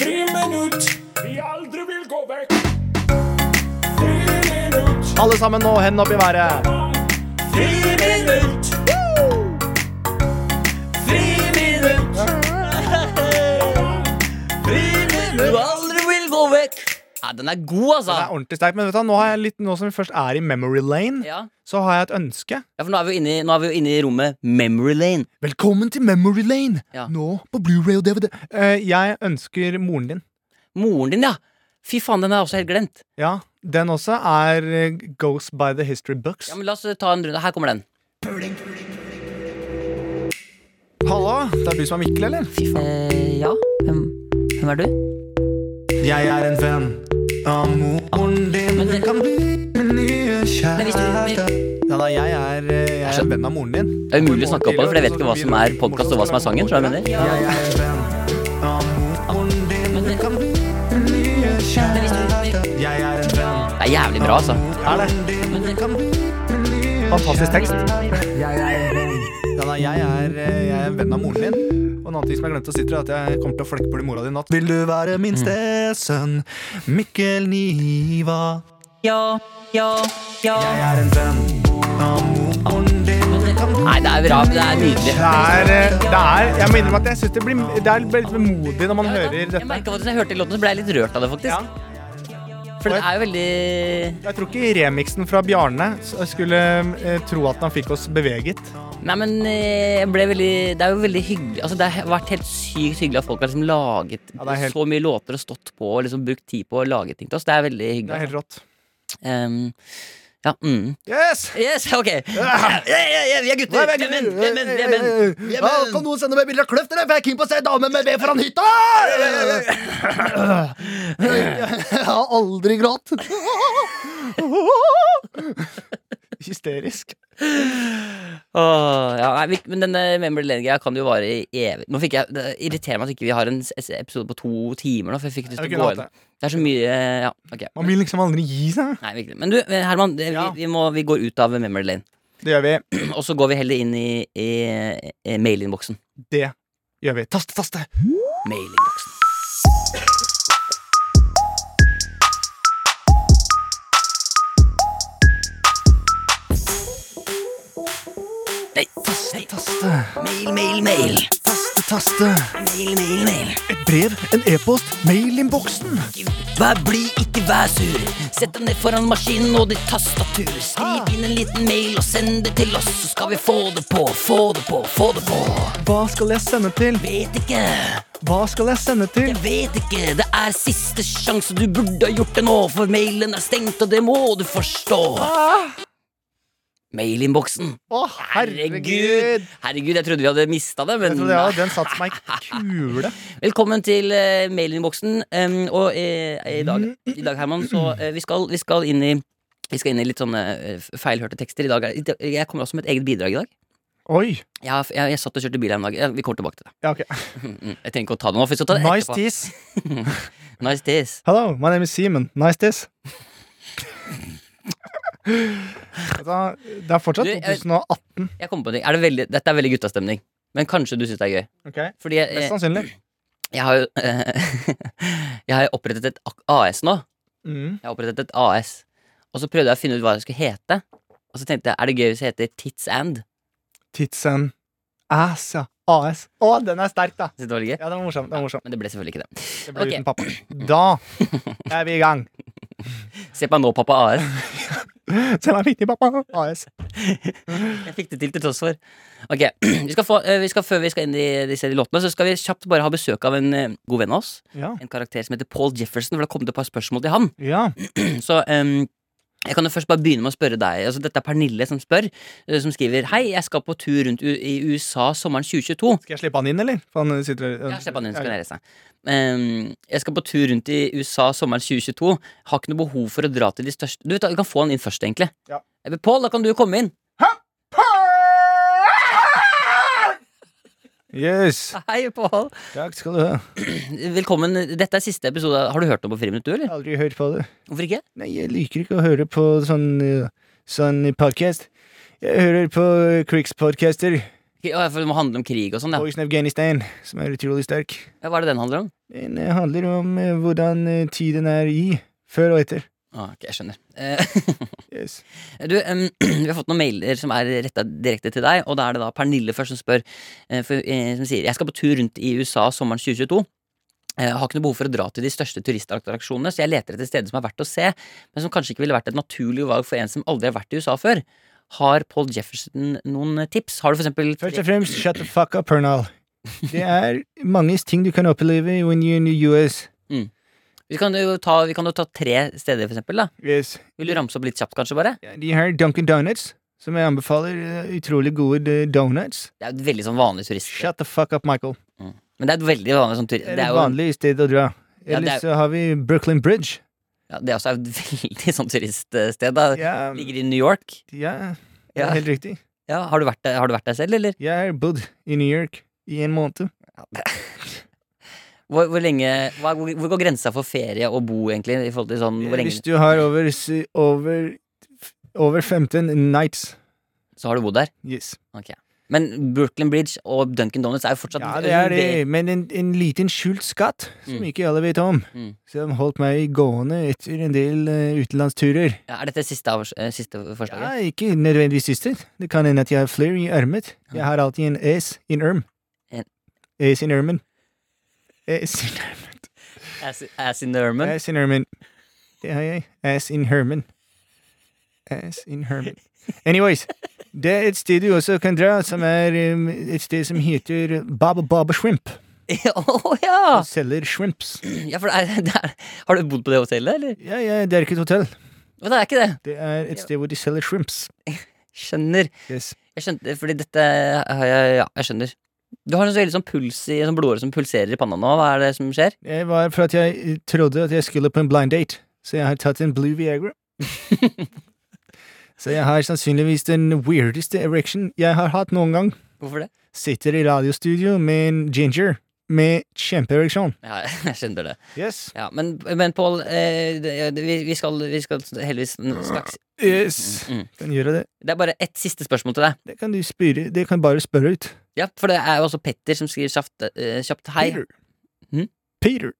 Friminutt, vi aldri vil gå vekk. Friminutt,
Alle sammen nå, hendene opp i været.
friminutt. Friminutt.
Du aldri vil gå vekk! Ja, den er god, altså!
Det er ordentlig sterkt. Men vet du, hva, nå, har jeg litt, nå som vi først er i memory lane,
Ja.
så har jeg et ønske.
ja, for nå er vi jo inne, i- nå er vi jo inne i rommet Memory Lane.
Velkommen til memory lane!
Ja.
Nå på Blu-ray og DVD. Eh, jeg ønsker moren din.
Moren din, ja! Fy faen, den er også helt glemt.
Ja, den også er eh, Goes by the History Books.
Ja, men La oss eh, ta en runde. Her kommer den.
Hallo, det er du som er Mikkel, eller?
Fy faen. Eh, ja. Hvem, hvem er du?
Jeg er en venn av moren din.
Men det-
kan bli din nye
Men hvis du-
Ja da, jeg er, eh, jeg er en venn av moren din.
Det er umulig å snakke opp på det, for jeg vet ikke hva som er podkast og hva som er sangen. Tror jeg mener.
Jeg er en venn av moren din. Du kan bli din nye kjæreste. Jeg er en venn
Det er jævlig bra, altså.
Er det? Fantastisk tekst. Jeg er, ja, da, jeg, er, eh, jeg er en venn av moren din. Og en annen ting som jeg glemte å si til deg, er at jeg kommer til å flekke på din mora di i natt. Vil du være
Mm.
min stesønn, Mikkel Niva?
Ja, ja, ja.
Jeg er en venn av moren din.
Nei, det er bra. Det er nydelig.
Det er, eh, det er Jeg må innrømme at jeg syns det blir det er litt vemodig når man
Ja,
hører
vet du hva? Jeg
dette.
merket faktisk, når jeg hørte låten, så ble jeg litt rørt av det, faktisk. For det er jo veldig
Jeg tror ikke remixen fra Bjarne skulle eh, tro at han fikk oss beveget.
Nei, men eh, jeg ble veldig Det er jo veldig hyggelig Altså, det har vært helt sykt hyggelig at folk har liksom laget
Ja, det er helt-
så mye låter og stått på og liksom brukt tid på å lage ting til oss. Det er veldig
Det er
hyggelig.
helt rått.
Ehm, ja, mm.
Yes!
Yes, ok. Ja,
Ah!
ja, ja, vi er gutter. Vi er menn. Vi er menn. Vi er menn.
Ja, Kan noen sende meg bilder av Kløft, eller? For jeg er keen på å se dame med ved foran hytta! Jeg har aldri grått. Hysterisk.
Åh, ja, nei, vi- men eh, denne Memory Lane-greia kan jo vare i evig Nå fikk jeg, Det irriterer meg at ikke vi ikke har en s- s- episode på to timer nå, for jeg fikk lyst
Jeg
til
kunne
å gå
hatt
inn.
det.
Det er så mye eh, Ja, ok.
Man vil liksom aldri gi seg.
Nei, virkelig. Men du, eh, Herman, det,
Ja.
vi, vi, må, vi går ut av Memory Lane.
Det gjør vi.
<clears throat> Og så går vi heller inn i, i, i mailinnboksen.
Det gjør vi. Taste, taste.
Mailinnboksen. Nei, nei,
Taste,
mail, mail, mail.
taste, taste.
Mail, mail, mail.
Et brev, en e-post, mailinnboksen.
Vær blid, ikke vær sur. Sett deg ned foran maskinen og ditt tastatur. Skriv inn en liten mail og send det til oss, så skal vi få det på, få det på, få det på.
Hva skal jeg sende til?
Vet ikke,
Hva skal jeg sende til?
jeg vet ikke. Det er siste sjanse, du burde ha gjort det nå, for mailen er stengt, og det må du forstå. Mailinnboksen!
Å, herregud!
Herregud! Herregud, jeg trodde vi hadde mista det,
Jeg
men
trodde, ja, den satte meg i kule.
Velkommen til uh, mailinnboksen. Em, og eh, i, dag, i dag, Herman, så eh, vi, skal, vi skal inn i vi skal inn i litt sånne eh, feilhørte tekster. I dag er, i dag- jeg kommer også med et eget bidrag i dag.
Oi.
Jeg, har- jeg, jeg satt og kjørte bil her om dagen. Ja, Vi kommer tilbake til det. <laughs>
Ja, ok.
Mm, Jeg trenger ikke å ta det nå. For jeg skal ta det
Nice
etterpå.
tees.
<laughs> Nice tease.
Hello, my name is Simon. Nice tees. Altså, Det er fortsatt
Du, jeg-
2018.
Jeg kommer på en ting. Er det veldig, dette er veldig guttastemning. Men kanskje du syns det er gøy.
Ok,
Fordi jeg,
Mest
jeg,
sannsynlig.
jeg har jo <laughs> Jeg har jo opprettet et ak- AS nå.
Mm.
Jeg har opprettet et AS. Og så prøvde jeg å finne ut hva det skulle hete. Og så tenkte jeg, er det gøy hvis jeg heter Tits And?
Tits and ass, ja. AS. Å, den er sterk, da!
Synes du det var litt gøy?
Ja, den var morsom. Den var morsom.
Men det ble selvfølgelig ikke det.
Det blir
Ok.
uten pappa. Da er vi i gang.
Se på meg nå, pappa AS.
<laughs> Selv om jeg fikk den i pappa. AS.
<laughs> Jeg fikk det til til tross for. Ok, <clears throat> vi skal få, eh, vi skal, Før vi skal inn i disse låtene, så skal vi kjapt bare ha besøk av en eh, god venn av oss.
Ja.
En karakter som heter Paul Jefferson, for det har kommet et par spørsmål til han. <clears throat>
ja.
Så em, jeg kan jo først bare begynne med å spørre deg. Altså, dette er Pernille som spør, eh, som skriver Hei, jeg skal på tur rundt u i USA sommeren 2022.
Skal jeg slippe han inn, eller? For han sitter
Ja, slipp han inn, så kan
Ja,
jeg reise. Em, jeg skal på tur rundt i USA sommeren 2022. Har ikke noe behov for å dra til de største Du vet, da, Vi kan få han inn først, egentlig.
Ja.
Eh, Pål, da kan du komme inn.
<laughs> Yes.
Hei, Pål.
Takk skal du ha.
Velkommen. Dette er siste episode. Har du hørt noe på Friminutt, du,
Jeg
eller?
har aldri hørt på det.
Hvorfor ikke?
Nei, jeg liker ikke å høre på sånn, eh, sånn podcast. Jeg hører på eh, krigspodcaster,
Å, ja, For det må handle om krig og sånn, ja.
Voice of Afghanistan, som er utrolig sterk.
ja. Hva er det den handler om?
Den eh, handler om eh, hvordan eh, tiden er i, før og etter.
Ah, ok, jeg skjønner. Eh, <laughs>
Yes.
Du, em, <clears throat> Vi har fått noen mailer som er retta direkte til deg. Og da er det da Pernille først som spør eh, for, eh, Som sier Jeg skal på tur rundt i USA sommeren 2022. Eh, Har ikke noe behov for å dra til de største turistattraksjonene, så jeg leter etter steder som er verdt å se, men som kanskje ikke ville vært et naturlig valg for en som aldri har vært i USA før. Har Paul Jefferson noen tips? Har du for eksempel
Først og fremst, shut the fuck up, Pernal. Det er mange ting du kan oppleve when you're in the US.
vi, kan jo ta, vi kan jo ta tre steder, for eksempel. Da.
Yes.
Vil du ramse opp litt kjapt, kanskje? bare?
Ja, De her Dunkin' Donuts, som jeg anbefaler, eh, utrolig gode eh, donuts.
Det er jo et veldig sånn vanlig turist...
Shut the fuck up, Michael.
Men det er et veldig vanlig sånn turist...
Det
Det
er
er
et
jo
vanlig sted å dra.
Ja, det er-
Ellers så har vi Brooklyn Bridge.
ja, det er også et <laughs> veldig sånn turiststed. da.
Ja,
Ligger i New York.
ja, det
Ja.
er helt riktig.
Ja, har, du vært der, har du vært der selv, eller?
Jeg har bodd i New York i en måned.
Hvor, hvor lenge hva, hvor, hvor går grensa for ferie og bo, egentlig? I forhold til sånn, hvor lenge
Hvis du har over, s- over, over 15 nights
Så har du bodd der?
Yes.
Men Brooklyn Bridge og Duncan Donuts er jo fortsatt
Ja, det er det, men en, en liten skjult skatt som
Mm.
ikke alle vet om,
Mm.
som holdt meg gående etter en del eh, utenlandsturer.
Ja, Er dette siste, avs- eh, siste
Ja,
forslaget?
ikke nødvendigvis siste. Det kan hende at jeg har flere i ermet. Jeg har alltid en ace i en erm.
En-
Ace i en ermen. Ace in ermen.
Ass, ass in Norman?
Ass in Herman. Det har jeg. Ass in Herman. Ass in Herman. Anyways, det er et sted du også kan dra, som er um, et sted som heter Baba Baba Shrimp.
Å <laughs> ja!
Og selger shrimps.
ja for det er, det er, har du bodd på det hotellet, eller?
Ja, ja, det er ikke et hotell.
Men det er ikke det.
Det er et sted hvor de selger shrimps.
Skjønner.
Yes.
Jeg skjønte, fordi dette har jeg Ja, jeg skjønner. Du har en sånn veldig sånn puls i sånn blodåre som pulserer i panna nå. Hva er det som skjer?
Det var for at jeg eh, trodde at jeg skulle på en blind date, så jeg har tatt en Blue
<laughs>
Viagra. så jeg har sannsynligvis den weirdeste erection jeg har hatt noen gang.
Hvorfor det?
Sitter i radiostudio med en ginger med kjempeereksjon.
Ja, <laughs> jeg skjønner det.
Yes.
Ja, men, men Pål, eh, det- det- vi, vi, skal, vi skal heldigvis straks
Yes.
Mm, mm.
Kan gjøre det.
Det er bare ett siste spørsmål til deg.
Det kan du spørre. Det kan bare spørre ut.
Ja, For det er jo også Petter som skriver kjapt, eh, kjapt hei.
Peter.
Hm?
Peter.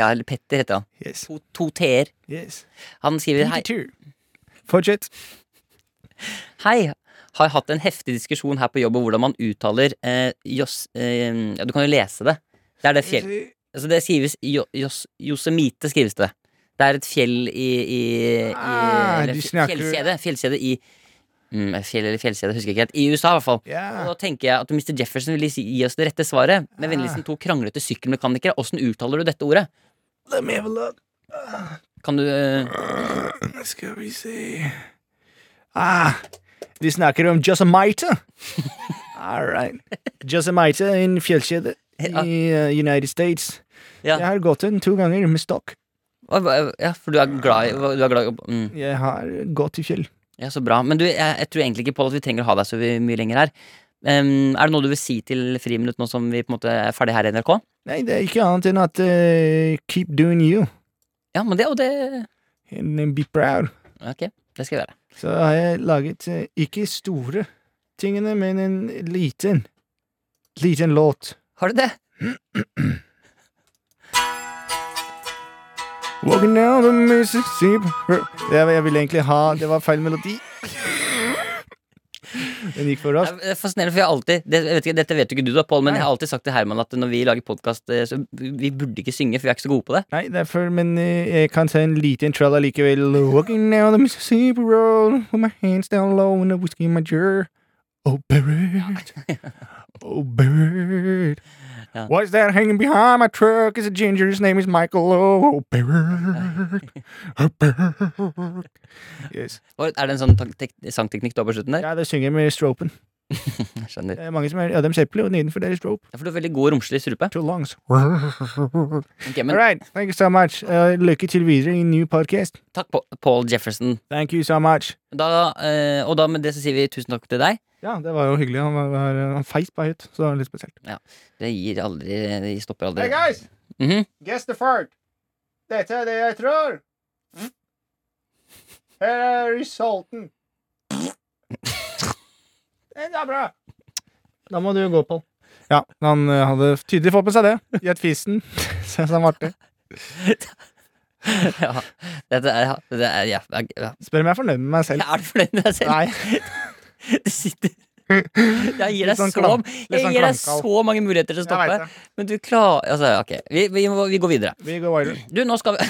Ja, eller Petter heter han.
Yes.
To, to t-er.
Yes.
Han skriver hei.
Peter. Fortsett.
hei. Har hatt en heftig diskusjon her på jobb om hvordan man uttaler eh, Jos... Eh, ja, du kan jo lese det. Det er det fjell... Altså, det skrives jo, Jos, Yosemite, skrives det. Det er et fjell i, i, i
Ah,
eller
du
fj-
snakker-
Fjellkjede. Fjellkjede i mm, Fjell eller fjellkjede, husker jeg ikke helt. I USA, i hvert fall. Og
Ja. Ah.
da tenker jeg at Mr. Jefferson ville si- gi oss det rette svaret. Med vennligsten to kranglete sykkelmekanikere. Åssen uttaler du dette ordet?
Let me have a look. Ah.
Kan du eh,
Skal vi se Ah, Vi snakker om Josemite. All right. Josemite, en fjellkjede i eh, United States.
Ja.
Jeg har gått den to ganger med stokk.
Hva- hva- ja, for du er glad i hva- du er glad i- mm.
Jeg har gått i fjell.
Ja, så bra. Men du, jeg, jeg tror egentlig ikke Pål, at vi trenger å ha deg så vi- mye lenger her. Em, er det noe du vil si til Friminutt nå som vi på en måte er ferdig her i NRK?
Nei, det er ikke annet enn at eh, keep doing you
Ja, men det og det
and be proud.
Ok, det skal jeg gjøre.
Så har jeg laget eh, ikke store tingene, men en liten, liten låt.
Har du det?
Walking down the Mississippi jeg, jeg ville egentlig ha Det var feil melodi. Den gikk for oss.
Det er fascinerende, for jeg har alltid det, jeg vet ikke, Dette vet jo ikke du, da, Pål, men jeg har alltid sagt til Herman at når vi lager podkast, så vi burde ikke synge, for vi er ikke så gode på det.
Nei, derfor, men eh, jeg kan ta en liten trall allikevel. Walking down the Mississippi road with my hands down low and a whiskey in my jar. Oh, bird. Oh, bird.
Ja.
What's that hanging behind my truck? It's a ginger. His name is Michael. Oh, <laughs> bird. Oh, bird. Yes.
Og Er det en sånn tak- tek- sangteknikk du har på slutten der?
Ja, det synger jeg med stropen.
Jeg skjønner.
Det er mange som er Adam Zeppelin, og nedenfor det er strope.
Ja, for du har veldig god romslig strupe.
Two <laughs> lungs.
Ok,
All
men
right. Thank you so much. Uh, lykke til videre i en ny podcast.
takk, På- Pål Jefferson.
Thank you so much.
Da, eh, og da med det så sier vi tusen takk til deg.
Ja, det var jo hyggelig. Han, var, var, han feit meg ut, så det var litt spesielt.
Det gir aldri Det stopper aldri.
guys!
Mhm. <laughs>
Guess the fart. Dette er det jeg tror. Her er resulten. Det er bra. Da må du gå, Pål. Ja, han eh, hadde tydelig fått med seg det. Gjett fisen. <laughs> Synes han var artig.
ja. Dette er, ja, det er ja, ja, ja.
Spør om jeg er fornøyd med meg selv.
Er du fornøyd med deg selv?
Nei.
Du
<laughs>
sitter Jeg gir deg,
Litt sånn
så,
klam- litt
jeg
sånn
gir deg
klankal.
så mange muligheter til å
Jeg
stoppe,
vet det.
men du klarer altså, Ok, vi, vi, må- vi går videre.
Vi går videre.
Du, nå skal vi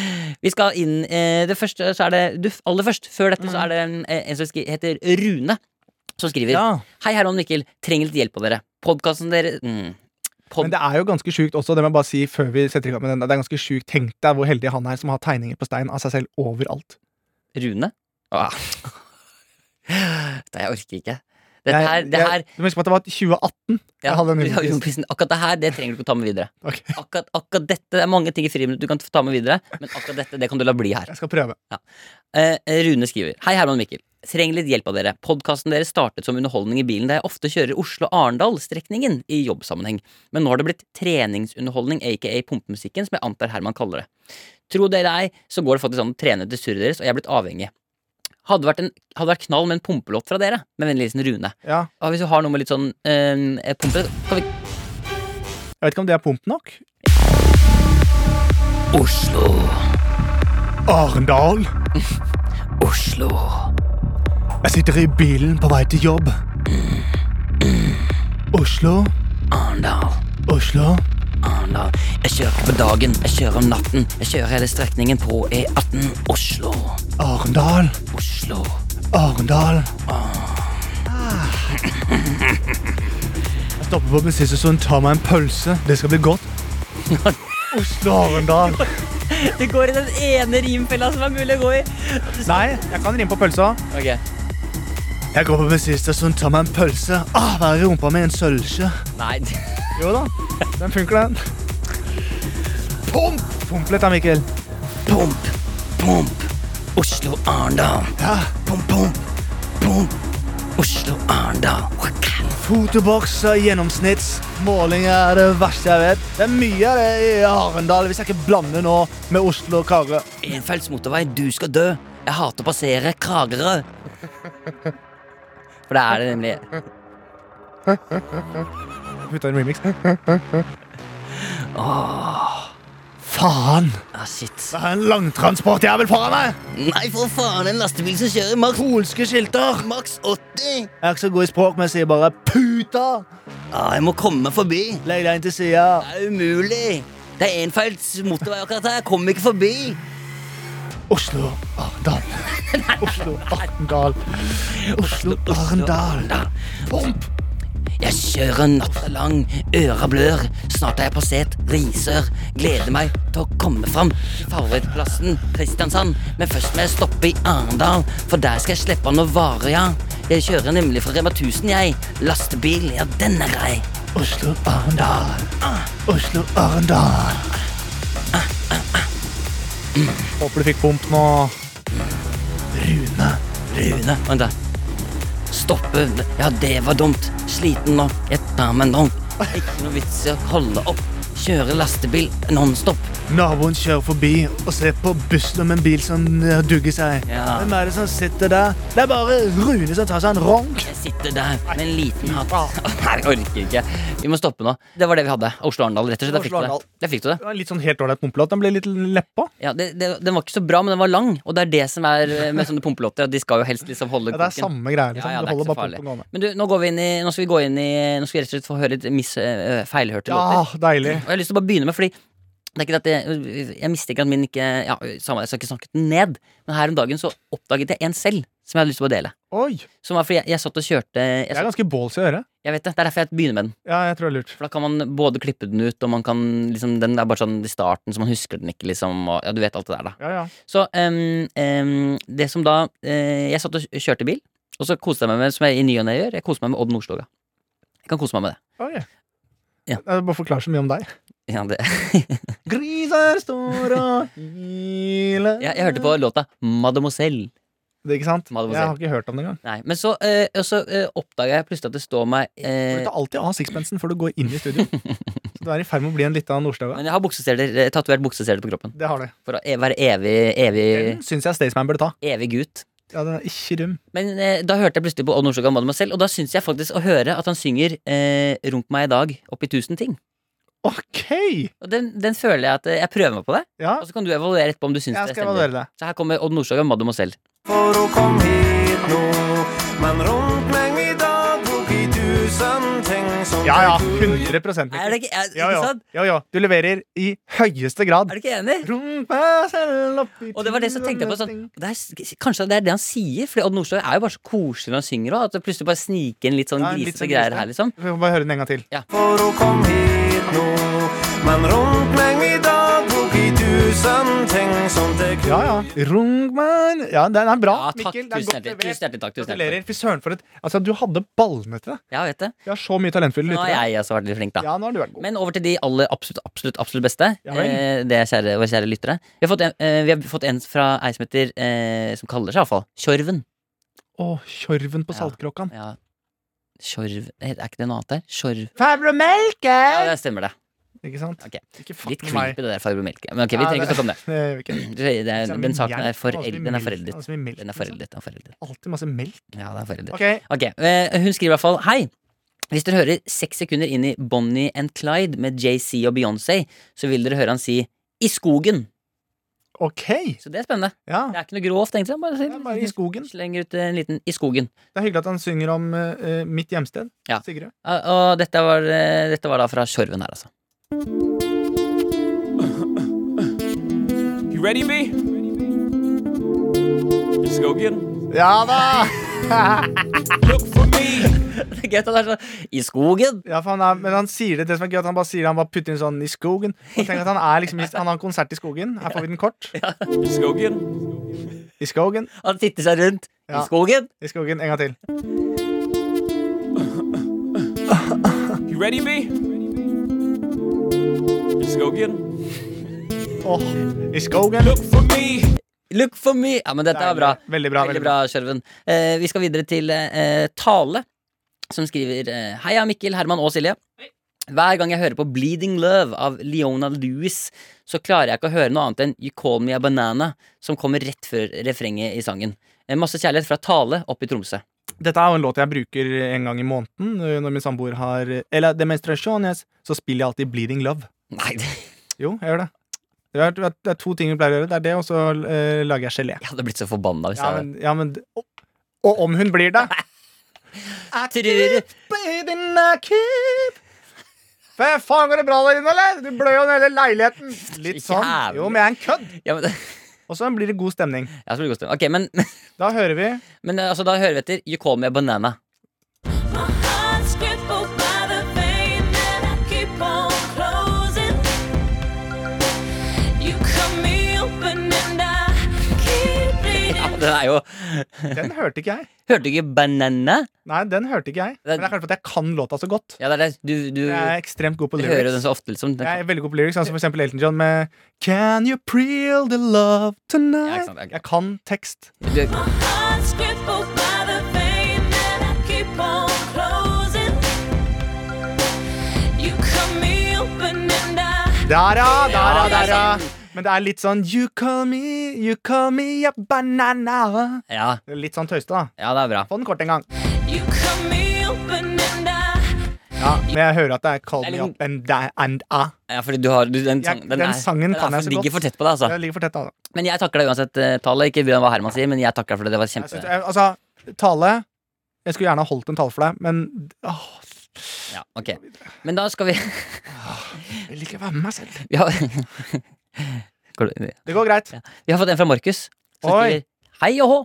<clears throat> Vi skal inn eh, Det første så er det du, Aller først, før dette, så er det en, eh, en som skri, heter Rune, som skriver
Ja.
Hei, Herman og Mikkel. Trenger litt hjelp av dere. Podkasten deres mm. Pod
Men det er jo ganske sjukt også, det må jeg bare si før vi setter i gang med den. Det er ganske sjukt. Tenk deg hvor heldig han er som har tegninger på stein av seg selv overalt.
Rune? Ah. Nei, jeg orker ikke. Dette
Jeg-
her, det her
jeg, du må huske på at det var 2018.
ja,
jeg hadde en
du har
humorist.
humorprisen. Akkurat det her det trenger du ikke å ta med videre.
Ok.
Akkurat, akkurat dette det er mange ting i friminutt du kan ta med videre, men akkurat dette det kan du la bli her.
Jeg skal prøve.
Eh, Rune skriver Hei, Herman og Mikkel. Trenger litt hjelp av dere. Podkasten deres startet som underholdning i bilen da jeg ofte kjører Oslo-Arendal-strekningen i jobbsammenheng, men nå har det blitt treningsunderholdning, aka pumpemusikken, som jeg antar Herman kaller det. Tro det eller ei, så går det faktisk an å trene til surret deres, og jeg er blitt avhengig. Hadde vært, en, hadde vært knall med en pumpelåt fra dere, med vennlig hilsen Rune.
Ja.
Og hvis du har noe med litt sånn eh, pumpe kan vi...
Jeg vet ikke om det er pump nok.
Oslo,
Arendal.
Oslo.
Jeg sitter i bilen på vei til jobb. Oslo.
Arendal,
Oslo.
Arendal. Jeg kjører ikke på dagen, jeg kjører om natten. Jeg kjører hele strekningen på E18. Oslo,
Arendal.
Oslo.
Arendal. Jeg stopper på bensinstasjonen, tar meg en pølse. Det skal bli
<laughs>
godt. Oslo Arendal.
Det går i den ene rimfella som er mulig å gå i.
Nei, jeg kan rime på pølsa.
Ok,
Jeg går på bensinstasjonen, tar meg en pølse. Ah, Være i rumpa med en sølvskje.
nei. det-
Jo da, den funker, den. Pump! Pump litt da, Mikkel.
Pump, pump. Oslo, Arendal.
Ja.
Pump, pump, pump. Oslo, Arendal.
Fotoboks og gjennomsnittsmåling er det verste jeg vet. Det er mye av det i Arendal, hvis jeg ikke blander nå med Oslo og Karø.
Enfelts motorvei, du skal dø. Jeg hater å passere Kragerø. For det er det nemlig.
Putta en remix. Ah, Faen!
Ah, shit.
Det er en langtransportjævel foran meg!
Nei, for faen, en lastebil som kjører maks,
Polske skilter!
maks 80!
Jeg er ikke så god i språk, men jeg sier bare 'puta'.
Ah,
Ja, jeg må komme meg forbi.
Legg deg inn til sida.
Det er umulig. Det er enfelts motorvei akkurat her. Jeg kommer ikke forbi.
Oslo, Arendal. Oslo, Arendal. Oslo, Arendal. Pump!
Jeg kjører natta lang, øra blør. Snart har jeg passert Risør. Gleder meg til å komme fram til favorittplassen Kristiansand. Men først må jeg stoppe i Arendal, for der skal jeg slippe av noen varer, ja. Jeg kjører nemlig fra Rema 1000, jeg. Lastebil, ja, den er grei. Oslo-Arendal.
Arendal. Håper du fikk pump nå.
Rune, vent da. Stoppe, ja det var dumt. Sliten nå, jeg tar meg en dong. Ikke noe vits i å holde opp. Kjøre lastebil nonstop.
Naboen kjører forbi og ser på bussen om en bil som eh, dugger seg.
Ja.
Hvem er det som sitter der? Det er bare Rune som tar seg en ronk.
Jeg sitter der med en liten hatt. <laughs> Nei, jeg orker ikke. Vi må stoppe nå. Det var det vi hadde. Oslo-Arendal, rett og slett. Der fikk du det. Der fikk du det.
Det var en litt sånn helt ålreit pumpelåt. Den ble litt leppa.
Ja, det, det, den var ikke så bra, men den var lang. Og det er det som er eh, med sånne pumpelåter. at De skal jo helst liksom holde
Ja, det er
koken.
samme greia. Liksom.
Ja, ja,
du
det er
holder
ikke så
bare
farlig.
pumpen gående.
Men du, nå, går vi inn i, nå skal vi gå inn i Nå skal vi rett og slett få høre litt mis, eh, feilhørte
Ja,
låter.
Ah, deilig.
Og jeg har lyst til å bare begynne med, fordi det er ikke det at jeg, jeg mistenker at min ikke ja, samme, Jeg skal ikke snakke den ned, men her om dagen så oppdaget jeg en selv som jeg hadde lyst til å dele.
Oi,
Som var fordi jeg, jeg satt og kjørte jeg,
Det er
satt,
ganske ballsy å høre.
jeg vet det, det er derfor jeg begynner med den.
Ja, jeg tror det er lurt.
For da kan man både klippe den ut, og man kan liksom Den er bare sånn i starten, så man husker den ikke, liksom. Og, ja, du vet alt det der, da.
Ja, ja.
Så em, em, det som da eh, Jeg satt og kjørte bil, og så koste jeg meg med, som jeg i ny og ne gjør, jeg koste meg med Odd Nordstoga. Jeg kan kose meg med det.
Oi.
Ja.
Det bare forklarer så mye om deg.
Ja, det <laughs>
Griser står og hyler
jeg, jeg hørte på låta Mademoiselle.
Det er ikke sant?
Mademoiselle.
Jeg har ikke hørt om det engang.
Nei, men så, eh, og så eh, oppdaga jeg plutselig at det står meg
Du
eh,
tar alltid av sixpensen før du går inn i
<laughs>
studio. Så du er i ferd med å bli en lita Nordstoga.
Men jeg har buksestjeler, eh, tatovert buksestjeler på kroppen.
Det har du.
For å e- være evig, evig,
Den syns jeg Staysman burde ta.
evig gutt.
Ja, den er ikke dum.
Men eh, da hørte jeg plutselig på Odd Nordstoga Mademoiselle, og da syns jeg faktisk å høre at han synger eh, 'Runk meg i dag' oppi tusen ting.
Ok!
Og den, den føler jeg at eh, jeg prøver meg på det,
Ja,
og så kan du evaluere etterpå om du syns
jeg
det
skal
stemmer.
evaluere det.
Så her kommer Odd Nordstoga Mademoiselle.
For hun kom hit nå Men rundt meg i dag Bok i tusen ting som
Ja ja, 100 Mikkel.
Er det ikke,
Ja,
er, ikke
ja.
sant?
ja ja, du leverer i høyeste grad.
Er du ikke enig? Og det var det som tenkte jeg på sånn, det er, s- Kanskje det er det han sier? Fordi Odd Nordstoga er jo bare så koselig når han synger òg. At det plutselig bare sniker inn litt sånn
Ja, litt
grisete
sånn
greier
grisete.
her, liksom.
Vi får bare høre den en gang til.
For hun kom hit nå Men rundt meg i dag Bok i tusen ting som det
Ja ja. Rungman Ja, den er bra,
Ja, takk.
Mikkel. Den er
Tusen
godt
hjertelig,
levert.
tusen hjertelig takk. Tusen hjertelig.
Gratulerer. Fy søren, for et Altså, du hadde ballene til det.
Ja, vet det.
Vi har så mye talentfulle
Nå har
lyttere.
jeg også vært litt flink, da.
Ja, nå har du vært god.
Men over til de aller absolutt, absolutt, absolutt beste.
Ja vel.
eh, det er kjære, våre kjære lyttere. Vi har fått en, eh, vi har fått en fra ei som heter eh, Som kaller seg iallfall Tjorven.
Å, kjorven på
Ja.
saltkråkan.
Ja. Tjorv Er ikke det noe annet der? Tjorv
Farbror Melke!
Ja, det stemmer, det.
Ikke sant?
Ok.
Ikke
Litt
fuck med meg.
creepy, det der Farbror Melke. Men ok, vi
Ja,
trenger ikke
det-
snakke om det.
<laughs> Det gjør vi ikke.
Det, det,
Så
er-
mye
den saken
melk,
er,
det
foreld,
mye
den er
melk, det
foreldet.
så mye melk,
Den er
ikke sant?
foreldet. Den er foreldet.
Alltid masse melk.
Ja, den er foreldet.
Ok,
Ok, eh, Hun skriver i hvert fall Hei, hvis dere hører seks sekunder inn i Bonnie and Clyde med JC og Beyoncé, så vil dere høre han si 'i skogen'.
ok.
Så det er spennende.
Ja.
Det er ikke noe grovt, tenkte jeg. Bare,
Det er bare i skogen.
Slenger ut en liten 'i skogen'.
Det er hyggelig at han synger om eh, eh, mitt hjemsted.
Ja.
Sigrid.
Ja, Og dette var, eh, dette var da fra Skjørven her, altså. <laughs>
You ready, B? Let's go get 'em.
Ja da!
Look for me
Det er gøy at han er sånn 'i skogen'.
Ja, for han er, men han sier det, det som er gøy, at han bare sier det, han bare putter inn sånn i skogen. Og tenk at han er liksom, i- han har en konsert i skogen. Her får vi den kort.
Let's go get 'em.
I skogen.
Han titter seg rundt.
Ja.
I skogen.
I skogen. En gang til.
You ready, B? Let's go get 'em.
Åh, i skogen.
Look for me
Look for me! Ja, men dette var bra.
Veldig bra.
Veldig bra, Skjørven. Eh, vi skal videre til eh, Tale, som skriver eh, Heia Mikkel, Herman og Silje. Hver gang jeg hører på Bleeding Love av Leona Lewis, så klarer jeg ikke å høre noe annet enn You Call Me A Banana, som kommer rett før refrenget i sangen. Eh, masse kjærlighet fra Tale opp i Tromsø.
Dette er jo en låt jeg bruker en gang i måneden øh, når min samboer har Eller demonstrasjones, så spiller jeg alltid Bleeding Love.
Nei, <laughs> det,
Jo, jeg gjør det. Det er, det er to ting vi pleier å gjøre. Det er det, og så øh, lager jeg gelé.
jeg hadde blitt så forbanna hvis
Ja,
jeg
men, ja, men og, og om hun blir det
Trur-
Baby Nakib! Hva eh, faen, går det bra der inne, eller? Du blør jo under hele leiligheten. Litt sånn. Jo, men jeg er en kødd.
ja, men, <laughs>
Og så blir det god stemning.
ja, så blir det god stemning. Ok, men, <laughs>
Da hører vi
men eh, altså, da hører vi etter You Call Me A Banana. <laughs>
My heart's crippled
den er jo
Den hørte ikke jeg.
Hørte du ikke 'Banana'?
Nei, den hørte ikke jeg. Men det er kanskje fordi jeg kan låta så godt.
Ja, det er det. Du, du,
Jeg er ekstremt god på
hører jo den
lyrics.
så ofte, liksom. Den,
Jeg er veldig god på lyrics, altså For eksempel Elton John med Can you peel the love
Ja, ikke
tonight?
sant, ja.
Jeg kan tekst.
du,
Der, ja! Der, ja!
Ja, det er
Der, ja! Men det er litt sånn You call me, you call me a banana.
ja,
Litt sånn tøyste, da.
ja, det er bra.
Få den kort en gang. Ja, men jeg hører at det er Call
Det er
me
liksom-
up and, da- and ah. a.
Ja, fordi du har du, den,
Jeg-
sang,
den
er-
sangen
den er
kan jeg
for-
så
ligger
godt.
for tett på deg, altså.
Jeg ligger for tett, altså.
Men jeg takler deg uansett, eh, Tale. Ikke bry deg om hva Herman sier, men jeg takler for det. Det var
Jeg
kjempe...
synes, jeg, altså, tale Jeg skulle gjerne ha holdt en tale for deg, men åh,
Ja, ok. Men da skal vi <laughs>
jeg vil ikke være med meg selv.
Vi har, <laughs> Går det-
Det går greit.
vi har fått en fra Markus. som
Oi.
skriver, Hei og hå!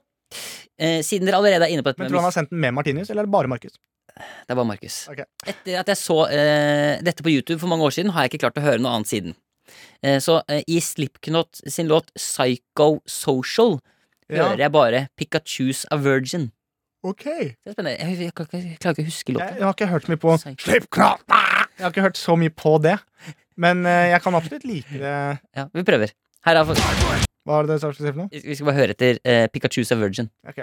Eh, siden dere allerede er inne på dette
Men
med
tror du han har
mis-
sendt den med Martinius, eller er det bare Markus?
Det er bare Markus.
Ok.
Etter at jeg så eh, dette på YouTube for mange år siden, har jeg ikke klart å høre noe annet siden. Eh, så eh, i Slipknot sin låt Psychosocial
Ja.
hører jeg bare Pikachu's A Virgin.
Ok. Jeg,
Det er spennende. Jeg, jeg, jeg, jeg klarer ikke å huske låta.
jeg har ikke hørt så mye på
Psycho.
Slipknot! Ah! Jeg har ikke hørt så mye på det. Men eh, jeg kan absolutt like det.
Ja, vi prøver. Her er,
Hva var det du sa for noe?
vi skal bare høre etter eh, Pikachu's A Virgin.
Ok.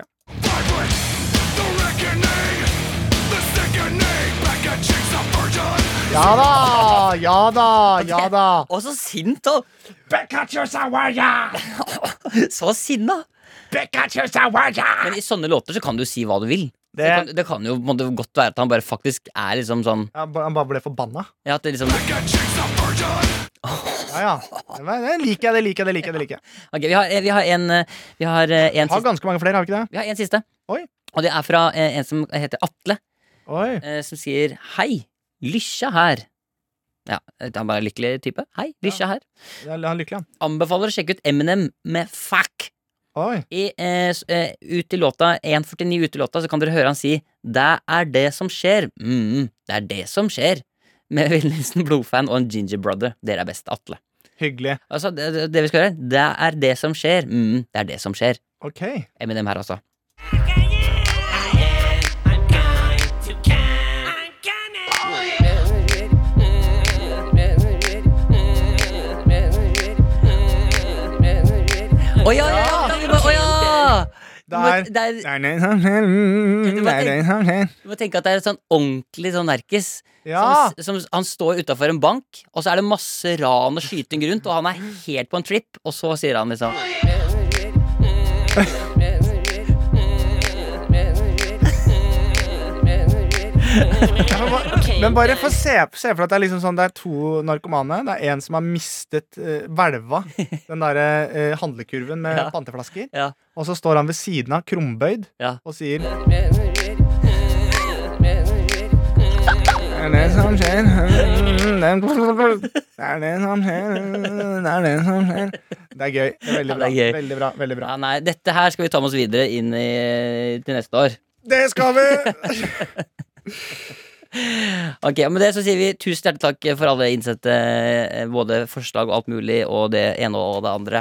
Ja da! Ja da! Ja da!
Å, så sint, da! <laughs> så sinna! Men i sånne låter så kan du si hva du vil. Det,
Det-
kan, det kan jo på en måte godt være at han bare faktisk er liksom sånn
Jeg ba- han bare ble forbanna.
ja, at det liksom, Ok,
Ja, ja. Det var- Det liker jeg, det liker jeg. det liker jeg, det liker jeg
vi, har, vi har en eh, Vi har eh, en
Har
siste.
ganske mange flere, har vi ikke det?
Vi har en siste.
Oi.
Og det er fra eh, en som heter Atle,
Oi.
eh, som sier Hei, lykkja her. Ja, han er bare en lykkelig type. Hei, lykkja her.
det er- Han er lykkelig, han.
Anbefaler å sjekke ut Eminem med Fuck.
Oi.
I, eh, s- eh, ut i låta 1.49 ut i låta så kan dere høre han si 'Det er det som skjer'. Mm, det er det som skjer. Med <laughs> Will Nilsen Blodfan og en Ginger Brother. Dere er best, Atle.
Hyggelig.
Altså, det, det- det vi skal gjøre, det er det som skjer. Mm, det er det som skjer.
Ok.
Eminem her, altså. Å ja, ja, ja! vi må- Å ja! Du må,
Det
det
Nei,
er,
nei, nei, nei, nei, nei, nei, nei, nei.
du må tenke at det er et sånn ordentlig sånn nerkis.
Ja!
Som, som, han står utafor en bank, og så er det masse ran og skyting rundt, og han er helt på en trip, og så sier han liksom
Men ba- Men bare få se, se for deg at det er liksom sånn Det er to narkomane. Det er en som har mistet eh,
<laughs>
hvelva. Den derre eh, handlekurven med
Ja.
panteflasker.
Ja.
Og så står han ved siden av, krumbøyd,
Ja.
og sier Det er det som skjer. Det er det som skjer. Det er det som skjer. Det er gøy. Det er veldig
Ja, det
bra.
er gøy.
Veldig bra. Veldig bra.
Ja, nei, dette her skal vi ta med oss videre inn i, til neste år.
Det skal vi!
Ok, og Med det så sier vi tusen hjertelig takk for alle innsendte eh, både forslag og alt mulig, og det ene og det andre.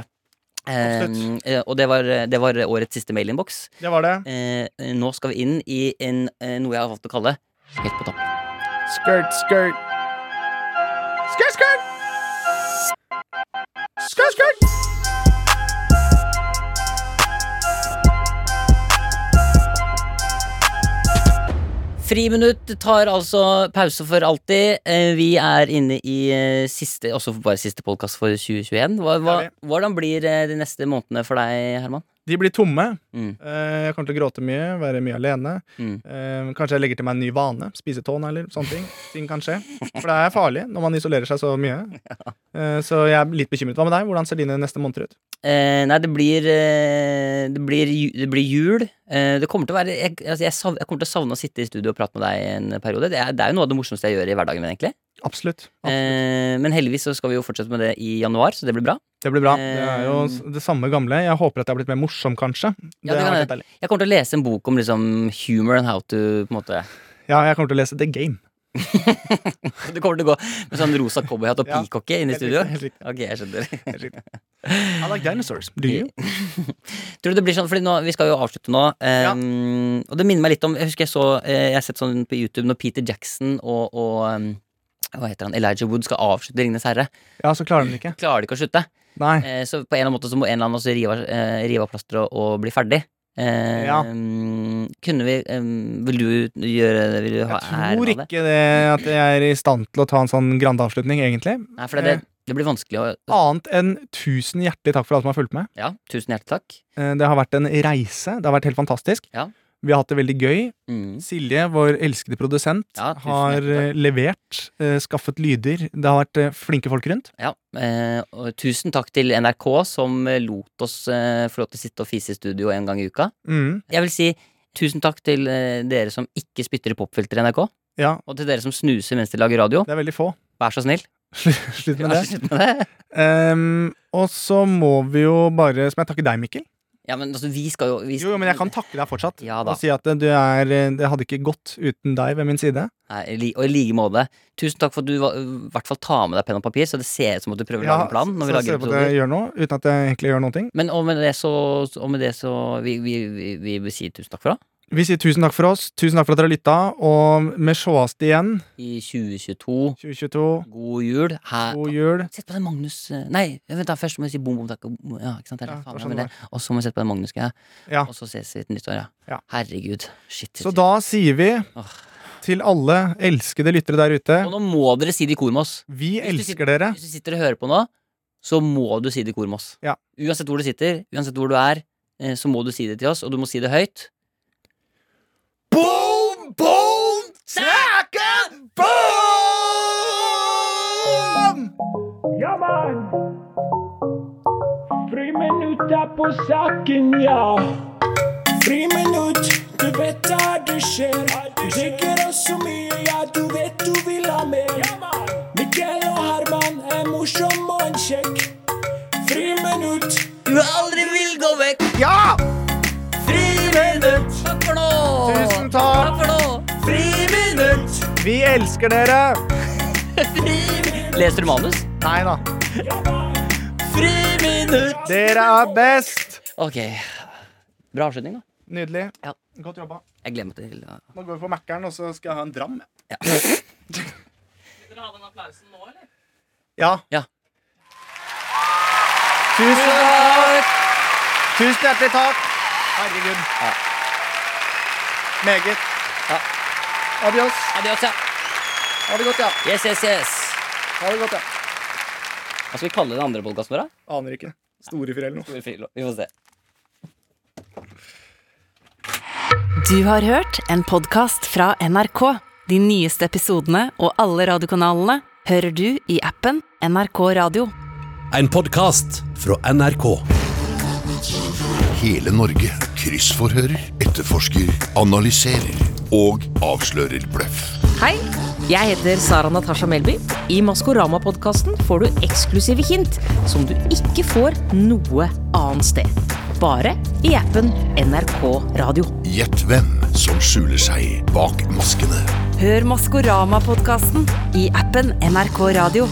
Eh,
Absolutt.
eh, og det var, det var årets siste mailinnboks.
Det var det.
Eh, nå skal vi inn i en, eh, noe jeg har valgt å kalle Helt på topp.
Skirt, skirt. Skirt, skirt! Skirt, skirt!
Friminutt tar altså pause for alltid. Eh, Vi er inne i eh, siste også bare siste podkast for 2021. Hva, hva,
Ja,
hvordan blir eh, de neste månedene for deg, Herman?
De blir tomme.
Mm.
Eh, Jeg kommer til å gråte mye, være mye alene.
Mm.
Eh, Kanskje jeg legger til meg en ny vane. Spise tånegler. Sånne ting. Ting kan skje. For det er farlig når man isolerer seg så
<laughs>
mye. Eh, Så jeg er litt bekymret. Hva med deg? Hvordan ser dine neste måneder ut?
Eh, nei, det blir, eh, det blir, ju- det blir jul. Eh, det kommer til å være, jeg, altså jeg, sav, jeg kommer til å savne å sitte i studio og prate med deg en periode. Det er, det er jo noe av det morsomste jeg gjør i hverdagen min, egentlig.
Absolutt. Absolutt.
Eh, men heldigvis så skal vi jo fortsette med det i januar, så det blir bra.
Det blir bra. Det er jo s- det samme gamle. Jeg håper at jeg har blitt mer morsom, kanskje.
eh, Ja, det
har vært
kan jeg.
litt deilig.
Jeg kommer til å lese en bok om liksom humor and how to på en måte <laughs>
ja, jeg kommer til å lese The Game.
Du kommer til å gå med sånn rosa cowboyhatt og
Ja.
pikokke inn i
Helt
studio?
riktig, helt riktig.
Ok, jeg skjønner.
Helt riktig. <laughs> I like dinosaurs. Do you?
Tror du det blir sånn, fordi nå, Vi skal jo avslutte nå. eh,
Ja.
Og det minner meg litt om Jeg husker jeg så eh, Jeg har sett sånn på YouTube når Peter Jackson og, og eh, hva heter han, Elijah Wood skal avslutte Ringenes herre.
Ja, så klarer den ikke.
Klarer de ikke
<laughs>
å slutte?
Nei.
Eh, Så på en eller annen måte så må en eller annen også rive, av- eh, rive av plasteret og, og bli ferdig. Eh,
Ja.
mm, Kunne vi eh, Vil du gjøre det? Vil du ha
Jeg tror
æren av det?
ikke det at jeg er i stand til å ta en sånn grand avslutning, egentlig.
Nei, for det, det, det blir vanskelig å
Annet enn tusen hjertelig takk for alle som har fulgt med.
Ja, tusen hjertelig takk.
Eh, Det har vært en reise. Det har vært helt fantastisk.
Ja.
Vi har hatt det veldig gøy.
Mm.
Silje, vår elskede produsent,
Ja, tusen
har
hjertelig
eh, levert, eh, skaffet lyder. Det har vært eh, flinke folk rundt.
Ja, eh, og tusen takk til NRK som eh, lot oss eh, få lov til å sitte og fise i studio en gang i uka.
Mm,
Jeg vil si tusen takk til eh, dere som ikke spytter i popfilter i NRK,
ja,
og til dere som snuser mens de lager radio.
det er veldig få.
Vær så snill.
Slutt med
Vær
det.
så snill med det.
Ehm, og så må vi jo bare Som jeg takker deg, Mikkel.
Ja, men altså, vi skal jo vi
Jo,
skal,
jo, men jeg kan takke deg fortsatt.
Ja da.
Og si at eh, du er eh, Det hadde ikke gått uten deg ved min side.
Nei, i li- og i like måte. Tusen takk for at du va- i hvert fall tar med deg penn og papir, så det ser ut som at du prøver å
Ja,
lage en plan. Når vi
så
lager
ser jeg på at jeg
episoder
gjør noe uten at jeg egentlig gjør noen ting.
Men og med det så, og med det så vi, vi, vi, vi, vil si tusen takk for det.
Vi sier tusen takk for oss. Tusen takk for at dere lytta. Og med sjåast igjen
I 2022.
2022.
God jul. Her,
God jul.
Sett på den Magnus eh, Nei, vent da, først må vi si bom, bom, takk og bom, ja, ikke sant? Eller,
Ja,
faen,
det var
jeg
sånn
mener. Og så må vi sette på den Magnus, ja.
Ja.
Og så ses vi et nytt år, ja.
Ja.
Herregud. Shit. shit,
Så
shit.
da sier vi
Åh.
til alle elskede lyttere der ute
Og nå må dere si det i kor med oss.
Vi
Hvis du
elsker
sitter-
dere.
Hvis du sitter og hører på nå, så må du si det i kor med oss.
Ja.
Uansett hvor du sitter, uansett hvor du er, eh, så må du si det til oss, og du må si det høyt.
Boom, boom, takke, boom!
Ja, man. Friminutt er på saken, ja. Friminutt, du vet da det skjer. Du drikker oss så mye, ja, du vet du vil ha mer. Mikkel og Herman er morsom og en kjekk. Friminutt.
Du aldri vil gå vekk!
Ja!
Friminutt! Takk for nå!
Tusen takk!
Takk for nå! Friminutt!
Vi elsker dere!
Leser du manus?
Nei da.
Friminutt!
Dere er best!
Ok. Bra avslutning, da.
Nydelig.
Ja.
Godt jobba.
Jeg gleder meg til å
Nå går vi på Mækkern, og så skal jeg ha en dram. Ja.
Ja.
Tusen takk! Tusen hjertelig takk. Herregud. Meget.
Ja.
Adios.
Adios, ja.
Ha det godt, ja.
Yes, yes, yes.
Ha det godt, ja.
Hva skal vi kalle den andre podkasten vår, da?
Aner ikke. Storefjell eller noe.
Store fil- Vi får se.
Du har hørt en podkast fra NRK. De nyeste episodene og alle radiokanalene hører du i appen NRK Radio.
En podkast fra NRK.
Hele Norge kryssforhører, etterforsker, analyserer og avslører bløff.
Hei, jeg heter Sara Natasha Melby. I Maskorama-podkasten får du eksklusive hint som du ikke får noe annet sted. Bare i appen NRK Radio.
Gjett hvem som skjuler seg bak maskene.
Hør Maskorama-podkasten i appen NRK Radio.